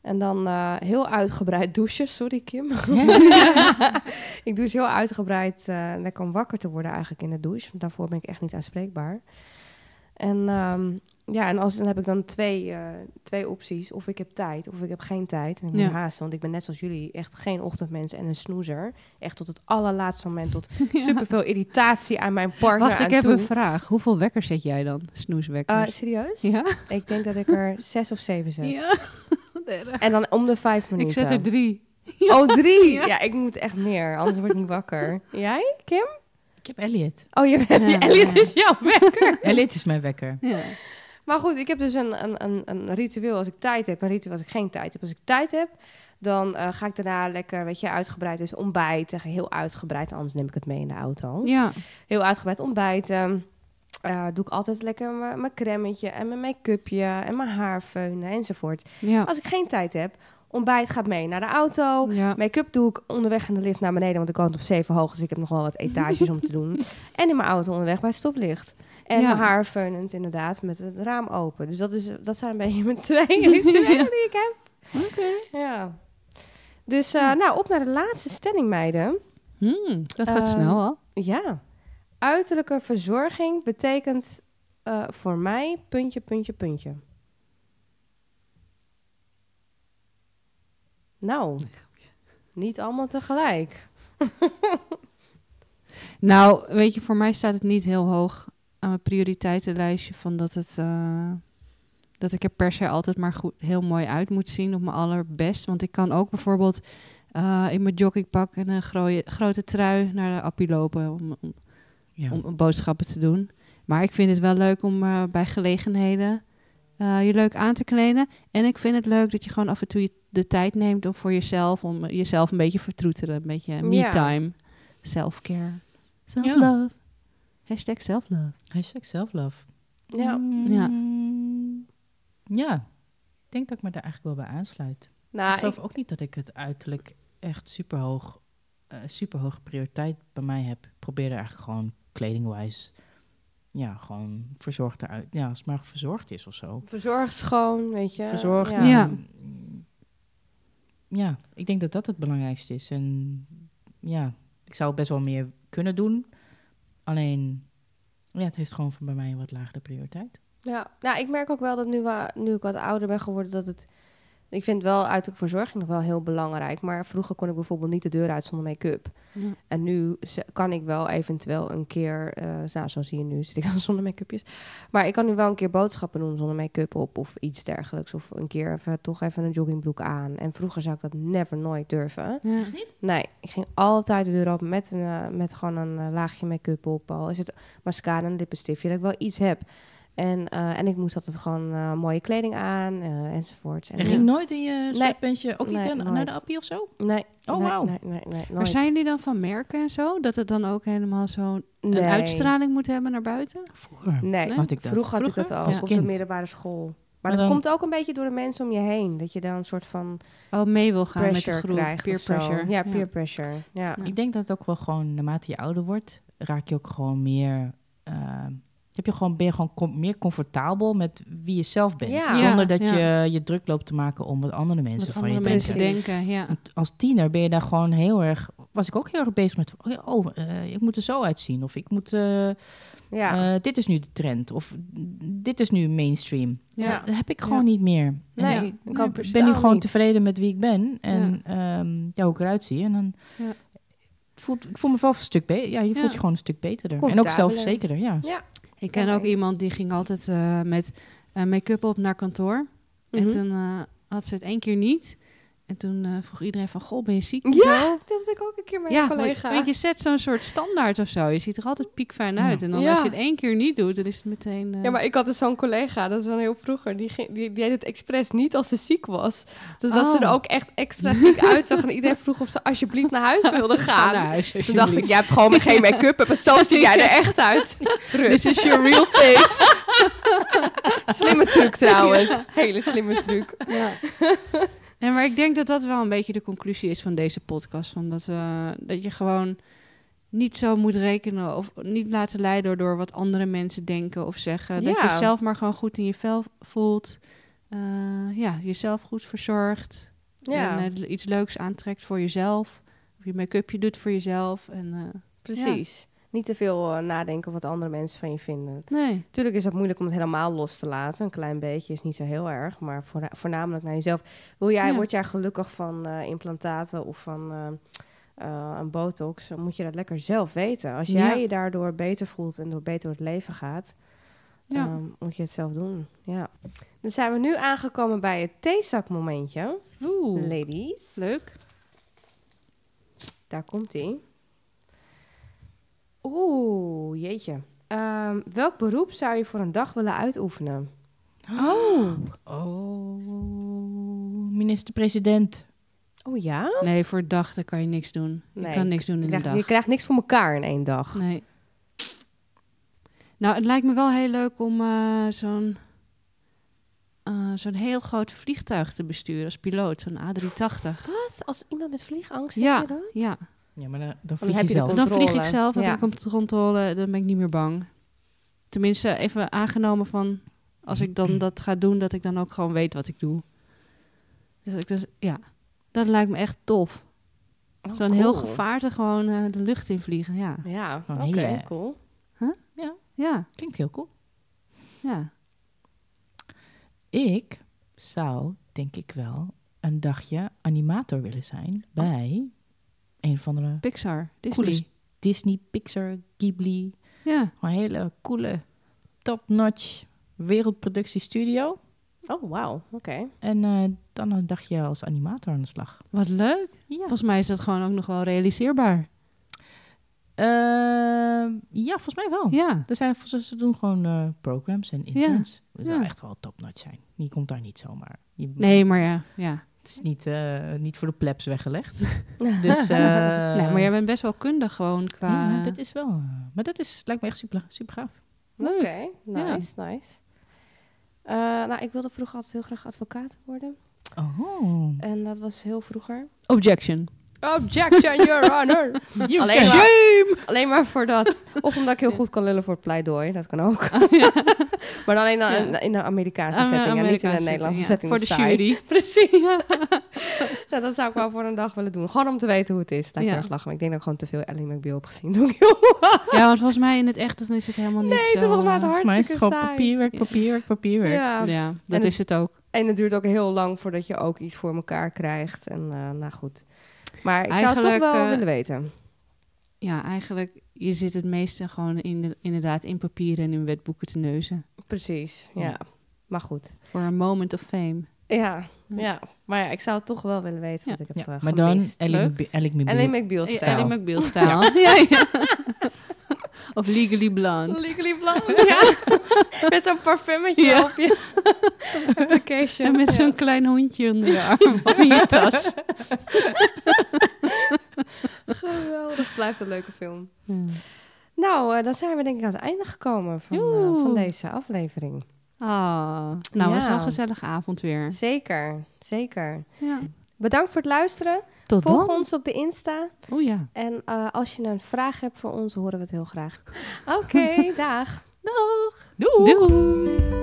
Speaker 1: En dan eh, heel uitgebreid douchen. Sorry, Kim. ik douche heel uitgebreid. eh lekker om wakker te worden eigenlijk in de douche. Want daarvoor ben ik echt niet aanspreekbaar. En ehm, ja, en als, dan heb ik dan twee, eh, twee opties. Of ik heb tijd, of ik heb geen tijd. En ik moet
Speaker 2: Ja.
Speaker 1: haasten, want ik ben net zoals jullie echt geen ochtendmens en een snoezer. Echt tot het allerlaatste moment, tot
Speaker 2: Ja.
Speaker 1: superveel irritatie aan mijn partner
Speaker 2: Wacht, ik
Speaker 1: aan
Speaker 2: heb
Speaker 1: toe.
Speaker 2: een vraag. Hoeveel wekkers zet jij dan?
Speaker 1: Eh,
Speaker 2: Snoeswekkers?
Speaker 1: serieus?
Speaker 2: ja?
Speaker 1: Ik denk dat ik er zes of zeven zet.
Speaker 2: Ja.
Speaker 1: En dan om de vijf minuten.
Speaker 2: Ik zet er drie.
Speaker 1: Oh, drie?
Speaker 2: Ja.
Speaker 1: Ja. ik moet echt meer, anders word ik niet wakker. Jij? Kim?
Speaker 3: Ik heb Elliot.
Speaker 1: Oh, je bent,
Speaker 2: Ja.
Speaker 1: Elliot is jouw wekker.
Speaker 3: Elliot is mijn wekker.
Speaker 2: Ja.
Speaker 1: Maar goed, ik heb dus een, een, een, een ritueel als ik tijd heb, een ritueel als ik geen tijd heb. Als ik tijd heb, dan eh, ga ik daarna lekker, weet je, uitgebreid dus ontbijten. Heel uitgebreid, anders neem ik het mee in de auto.
Speaker 2: ja.
Speaker 1: Heel uitgebreid ontbijten. Eh, doe ik altijd lekker mijn mijn cremmetje en mijn make-upje en mijn haar feunen enzovoort.
Speaker 2: Ja.
Speaker 1: Als ik geen tijd heb, ontbijt gaat mee naar de auto.
Speaker 2: ja.
Speaker 1: Make-up doe ik onderweg in de lift naar beneden, want ik woon op zeven hoog, dus ik heb nog wel wat etages om te doen. En in mijn auto onderweg bij het stoplicht. En
Speaker 2: Ja.
Speaker 1: mijn haar feunend inderdaad met het raam open. Dus dat, is, dat zijn een beetje mijn twee rituelen die ik heb.
Speaker 2: Oké.
Speaker 1: Ja. Dus eh, nou, op naar de laatste stelling, meiden.
Speaker 2: Hmm, dat gaat
Speaker 1: Eh,
Speaker 2: snel al.
Speaker 1: Ja. Uiterlijke verzorging betekent eh, voor mij puntje, puntje, puntje. Nou, niet allemaal tegelijk.
Speaker 2: Nou, weet je, voor mij staat het niet heel hoog aan mijn prioriteitenlijstje van dat het. eh, dat ik er per se altijd maar goed, heel mooi uit moet zien op mijn allerbest. Want ik kan ook bijvoorbeeld eh, in mijn joggingpak en een grooie- grote trui naar de appie lopen om, om,
Speaker 3: Ja.
Speaker 2: om boodschappen te doen. Maar ik vind het wel leuk om eh, bij gelegenheden eh, je leuk aan te kleden. En ik vind het leuk dat je gewoon af en toe je- de tijd neemt om voor jezelf, om eh, jezelf een beetje vertroeteren. Een beetje
Speaker 1: Ja.
Speaker 2: me-time, self-care. Self-love. Hashtag self-love.
Speaker 3: Hashtag self-love.
Speaker 1: Ja.
Speaker 2: Ja.
Speaker 3: Mm, ja. Ik denk dat ik me daar eigenlijk wel bij aansluit. ik
Speaker 1: Nou, ik,
Speaker 3: geloof ook niet dat ik het uiterlijk echt super hoog, super hoge prioriteit bij mij heb. Ik probeer er eigenlijk gewoon kledingwijs, ja, gewoon verzorgd eruit. Ja, als het maar verzorgd is of zo.
Speaker 1: verzorgd schoon, weet je.
Speaker 3: Verzorgd.
Speaker 1: Ja.
Speaker 3: en-
Speaker 2: Ja.
Speaker 3: ja, ik denk dat dat het belangrijkste is. En ja, ik zou best wel meer kunnen doen. Alleen, ja, het heeft gewoon voor bij mij een wat lagere prioriteit.
Speaker 1: Ja. Nou, ik merk ook wel dat nu, wa- nu ik wat ouder ben geworden, dat het Ik vind wel uiterlijke verzorging nog wel heel belangrijk. Maar vroeger kon ik bijvoorbeeld niet de deur uit zonder make-up.
Speaker 2: Ja.
Speaker 1: En nu ze- kan ik wel eventueel een keer, eh, nou zoals hier nu zit ik dan zonder make-upjes. Maar ik kan nu wel een keer boodschappen doen zonder make-up op of iets dergelijks. Of een keer even, toch even een joggingbroek aan. En vroeger zou ik dat never nooit durven.
Speaker 2: Ja.
Speaker 1: Nee, ik ging altijd de deur op met, een, eh, met gewoon een eh, laagje make-up op. Al is het mascara en een lippenstiftje, dat ik wel iets heb. En, eh, en ik moest altijd gewoon eh, mooie kleding aan eh, enzovoorts. En
Speaker 3: En
Speaker 2: Ja.
Speaker 3: ging nooit in je sweatpantje, ook niet
Speaker 1: Nee,
Speaker 3: aan- naar
Speaker 1: nooit.
Speaker 3: de appie of zo?
Speaker 1: Nee,
Speaker 3: Oh,
Speaker 1: nee,
Speaker 3: wauw.
Speaker 1: nee, nee, nee,
Speaker 2: Maar
Speaker 1: nooit.
Speaker 2: zijn die dan van merken en zo? Dat het dan ook helemaal zo'n
Speaker 1: Nee.
Speaker 2: een uitstraling moet hebben naar buiten?
Speaker 3: Vroeger.
Speaker 1: Nee,
Speaker 2: Nee?
Speaker 3: Had ik dat?
Speaker 1: vroeger had ik
Speaker 2: Vroeger?
Speaker 1: dat al,
Speaker 3: Als
Speaker 1: op de
Speaker 3: kind.
Speaker 1: middelbare school. Maar,
Speaker 3: Maar
Speaker 1: dat
Speaker 3: dan-
Speaker 1: komt ook een beetje door de mensen om je heen. Dat je daar een soort van
Speaker 2: Oh, mee wil gaan met
Speaker 1: pressure
Speaker 2: de groep.
Speaker 1: krijgt.
Speaker 2: peer
Speaker 1: of zo.
Speaker 2: pressure.
Speaker 1: Ja, peer pressure. Ja.
Speaker 2: Ja.
Speaker 1: Ja.
Speaker 3: Ik denk dat het ook wel gewoon, naarmate je ouder wordt, raak je ook gewoon meer... eh, heb je gewoon, ben je gewoon com- meer comfortabel met wie je zelf bent.
Speaker 1: Ja.
Speaker 3: Zonder
Speaker 2: Ja,
Speaker 3: dat je je druk loopt te maken om wat andere mensen
Speaker 2: Wat
Speaker 3: van
Speaker 2: andere
Speaker 3: je
Speaker 2: mensen
Speaker 3: denken.
Speaker 1: denken.
Speaker 2: denken, ja.
Speaker 3: Want Als tiener ben je daar gewoon heel erg... Was ik ook heel erg bezig met... Oh, ja, oh, eh, ik moet er zo uitzien. Of ik moet... eh, eh, dit is nu de trend. Of dit is nu mainstream.
Speaker 2: Ja.
Speaker 3: Ja, dat heb ik
Speaker 2: Ja.
Speaker 3: gewoon niet meer. En
Speaker 1: Nee,
Speaker 3: ik
Speaker 1: ik
Speaker 2: nee,
Speaker 1: kan
Speaker 2: precies.
Speaker 3: ben nu
Speaker 1: totaal
Speaker 3: gewoon
Speaker 1: niet.
Speaker 3: tevreden met wie ik ben en ehm, ja, hoe ik eruit zie. En dan
Speaker 2: Ja.
Speaker 3: het voelt, ik voel me wel een stuk beter. Ja, je voelt
Speaker 2: Ja.
Speaker 3: je gewoon een stuk beterder. En ook
Speaker 1: Comfortabeler.
Speaker 3: zelfverzekerder, ja.
Speaker 1: Ja.
Speaker 2: Ik ken ook
Speaker 1: Opeens.
Speaker 2: iemand die ging altijd eh, met eh, make-up op naar kantoor. En
Speaker 1: Mhm.
Speaker 2: toen eh, had ze het één keer niet. En toen eh, vroeg iedereen van, goh, ben je ziek? en
Speaker 1: Ja,
Speaker 2: zo?"
Speaker 1: dat had ik ook een keer met
Speaker 2: ja
Speaker 1: een
Speaker 2: want,
Speaker 1: collega.
Speaker 2: want je zet zo'n soort standaard of zo. Je ziet er altijd piekfijn uit. En dan
Speaker 1: Ja.
Speaker 2: als je het één keer niet doet, dan is het meteen... eh,
Speaker 1: Ja, maar ik had dus zo'n collega, dat is dan heel vroeger, die, ging- die, die deed het expres niet als ze ziek was. Dus dat ze
Speaker 2: Oh.
Speaker 1: er ook echt extra ziek uitzag en iedereen vroeg of ze alsjeblieft naar huis wilde
Speaker 2: ga
Speaker 1: gaan.
Speaker 2: naar huis,
Speaker 1: Toen dacht ik,
Speaker 2: alsjeblieft.
Speaker 1: jij hebt gewoon geen make-up op en zo zie jij er echt uit.
Speaker 2: This
Speaker 1: Trut.
Speaker 2: is your real face.
Speaker 1: Slimme truc trouwens. Hele slimme truc.
Speaker 2: ja. En maar ik denk dat dat wel een beetje de conclusie is van deze podcast. Van dat, eh, dat je gewoon niet zo moet rekenen of niet laten leiden door wat andere mensen denken of zeggen. Dat
Speaker 1: Ja.
Speaker 2: je zelf maar gewoon goed in je vel voelt. Eh, ja, jezelf goed verzorgt.
Speaker 1: Ja,
Speaker 2: En eh, iets leuks aantrekt voor jezelf. Of je make-upje doet voor jezelf. En, eh,
Speaker 1: precies. Niet te veel eh, nadenken wat andere mensen van je vinden.
Speaker 2: nee.
Speaker 1: Tuurlijk is het moeilijk om het helemaal los te laten. Een klein beetje is niet zo heel erg, maar voorna- voornamelijk naar jezelf. Wil jij,
Speaker 2: Ja.
Speaker 1: Word jij gelukkig van eh, implantaten of van eh, eh, een botox, dan moet je dat lekker zelf weten. Als jij
Speaker 2: Ja.
Speaker 1: je daardoor beter voelt en door beter door het leven gaat,
Speaker 2: Ja.
Speaker 1: ehm, moet je het zelf doen. Ja. Dan zijn we nu aangekomen bij het theezakmomentje.
Speaker 2: Oeh.
Speaker 1: Ladies,
Speaker 2: Leuk.
Speaker 1: daar komt ie. Oeh, jeetje. Ehm, welk beroep zou je voor een dag willen uitoefenen?
Speaker 2: Oh.
Speaker 3: Oh, minister-president.
Speaker 1: Oh ja?
Speaker 2: Nee, voor dag dan kan je niks doen.
Speaker 1: Nee,
Speaker 2: je kan niks doen
Speaker 1: Je
Speaker 2: in
Speaker 1: krijgt,
Speaker 2: de
Speaker 1: je
Speaker 2: dag.
Speaker 1: krijgt niks voor elkaar in één dag.
Speaker 2: Nee. Nou, het lijkt me wel heel leuk om eh, zo'n eh, zo'n heel groot vliegtuig te besturen als piloot. Zo'n A380.
Speaker 1: Wat? Als iemand met vliegangst
Speaker 2: Ja.
Speaker 1: je dat?
Speaker 2: Ja,
Speaker 3: Ja, maar dan, dan
Speaker 1: heb
Speaker 3: vlieg je
Speaker 1: je de
Speaker 3: zelf.
Speaker 2: dan vlieg ik
Speaker 1: Controle,
Speaker 2: zelf en
Speaker 1: ja.
Speaker 2: dan komt de controle. Dan ben ik niet meer bang. Tenminste, even aangenomen van als ik dan dat ga doen, dat ik dan ook gewoon weet wat ik doe. Dus ik dus, ja, dat lijkt me echt tof.
Speaker 1: Oh,
Speaker 2: zo'n heel
Speaker 1: cool.
Speaker 2: gevaarte gewoon eh, de lucht in vliegen. Ja,
Speaker 1: Ja, oké,
Speaker 3: Een hele-
Speaker 1: cool.
Speaker 2: ja,
Speaker 3: Klinkt heel cool.
Speaker 2: ja.
Speaker 3: Ik zou, denk ik wel, een dagje animator willen zijn bij een van de
Speaker 2: Pixar, Disney.
Speaker 3: coole Disney, Pixar, Ghibli,
Speaker 2: Ja.
Speaker 3: Een hele coole, top-notch wereldproductiestudio.
Speaker 1: Oh, wauw. Oké.
Speaker 3: En eh, dan een dagje als animator aan de slag.
Speaker 2: Wat leuk.
Speaker 3: Ja,
Speaker 2: Volgens mij is dat gewoon ook nog wel realiseerbaar.
Speaker 3: Eh, ja volgens mij
Speaker 1: Oh.
Speaker 3: wel.
Speaker 2: Ja.
Speaker 3: Er zijn, ze ze doen gewoon eh, programs en interns. Dat zou
Speaker 2: ja.
Speaker 3: echt wel top-notch zijn. Je komt daar niet zomaar. Je,
Speaker 2: Nee, maar ja. ja.
Speaker 3: Het is niet, eh, niet voor de plebs weggelegd. dus, eh,
Speaker 2: nee, maar jij bent best wel kundig gewoon qua...
Speaker 3: ja, dat is wel... eh, maar dat is, lijkt me echt super, super gaaf.
Speaker 1: Oké,
Speaker 2: Leuk.
Speaker 1: nice, nice. Eh, nou, ik wilde vroeger altijd heel graag advocaat worden.
Speaker 3: Oh.
Speaker 1: En dat was heel vroeger.
Speaker 2: Objection.
Speaker 1: Objection, your honor! alleen,
Speaker 2: can-
Speaker 1: maar, alleen maar voor dat. Of omdat ik heel goed kan lullen voor het pleidooi. Dat kan ook. maar alleen dan in, in de Amerikaanse
Speaker 2: Aan-
Speaker 1: setting. en niet in
Speaker 2: eh, Amerikaanse
Speaker 1: de Nederlandse
Speaker 2: ja.
Speaker 1: setting.
Speaker 2: Voor de
Speaker 1: dat is saai.
Speaker 2: jury.
Speaker 1: Precies. nou, dat zou ik wel voor een dag willen doen. Gewoon om te weten hoe het is. Lijkt me
Speaker 2: Ja.
Speaker 1: erg lachen. Maar ik denk dat ik gewoon te veel Ellie McBeal heb gezien. Doe ik heel
Speaker 2: Ja, want volgens mij in het echt dan is het helemaal niet
Speaker 1: Nee,
Speaker 2: zo...
Speaker 1: toen volgens mij is het
Speaker 2: eh,
Speaker 1: hard.
Speaker 3: Volgens mij is het gewoon
Speaker 1: Hartstikke saai.
Speaker 3: papierwerk, papierwerk, papierwerk.
Speaker 1: Ja.
Speaker 2: Ja, dat
Speaker 1: het-
Speaker 2: is het ook.
Speaker 1: En het duurt ook heel lang voordat je ook iets voor elkaar krijgt. En eh, nou goed. Maar ik zou het
Speaker 2: Eigenlijk,
Speaker 1: toch wel
Speaker 2: eh,
Speaker 1: willen weten.
Speaker 2: Ja, eigenlijk, je zit het meeste gewoon in de- inderdaad in papieren en in wetboeken te neuzen.
Speaker 1: Precies, ja.
Speaker 3: ja.
Speaker 1: Maar goed.
Speaker 2: Voor een moment of fame.
Speaker 1: Ja,
Speaker 2: Ja.
Speaker 1: ja. Maar ja, ik zou het toch wel willen weten wat
Speaker 2: Ja.
Speaker 1: ik heb
Speaker 3: Ja,
Speaker 1: eh,
Speaker 3: maar dan
Speaker 1: gemist.
Speaker 2: Ellie-
Speaker 1: Leuk.
Speaker 3: Alec Alec Mabou-
Speaker 1: Ellie McBeal
Speaker 2: Ja,
Speaker 1: stijl.
Speaker 2: Ellie McBeal stijl. Ja. ja. of Legally Blonde.
Speaker 1: Legally blonde, ja. Met zo'n parfummetje
Speaker 2: Ja.
Speaker 1: op je application.
Speaker 2: En met
Speaker 1: Ja.
Speaker 2: zo'n klein hondje onder je arm of in je tas.
Speaker 1: Geweldig, blijft een leuke film.
Speaker 2: Ja.
Speaker 1: Nou, eh, dan zijn we denk ik aan het einde gekomen van, eh,
Speaker 2: Oeh.
Speaker 1: van deze aflevering.
Speaker 2: Ah, nou, was
Speaker 1: Ja.
Speaker 2: wel een gezellige avond weer.
Speaker 1: Zeker, zeker.
Speaker 2: Ja.
Speaker 1: Bedankt voor het luisteren.
Speaker 2: Tot
Speaker 1: Volg
Speaker 2: dan.
Speaker 1: ons op de Insta.
Speaker 2: Oh ja.
Speaker 1: En eh, als je een vraag hebt voor ons, horen we het heel graag. Oké, dag.
Speaker 2: Doei.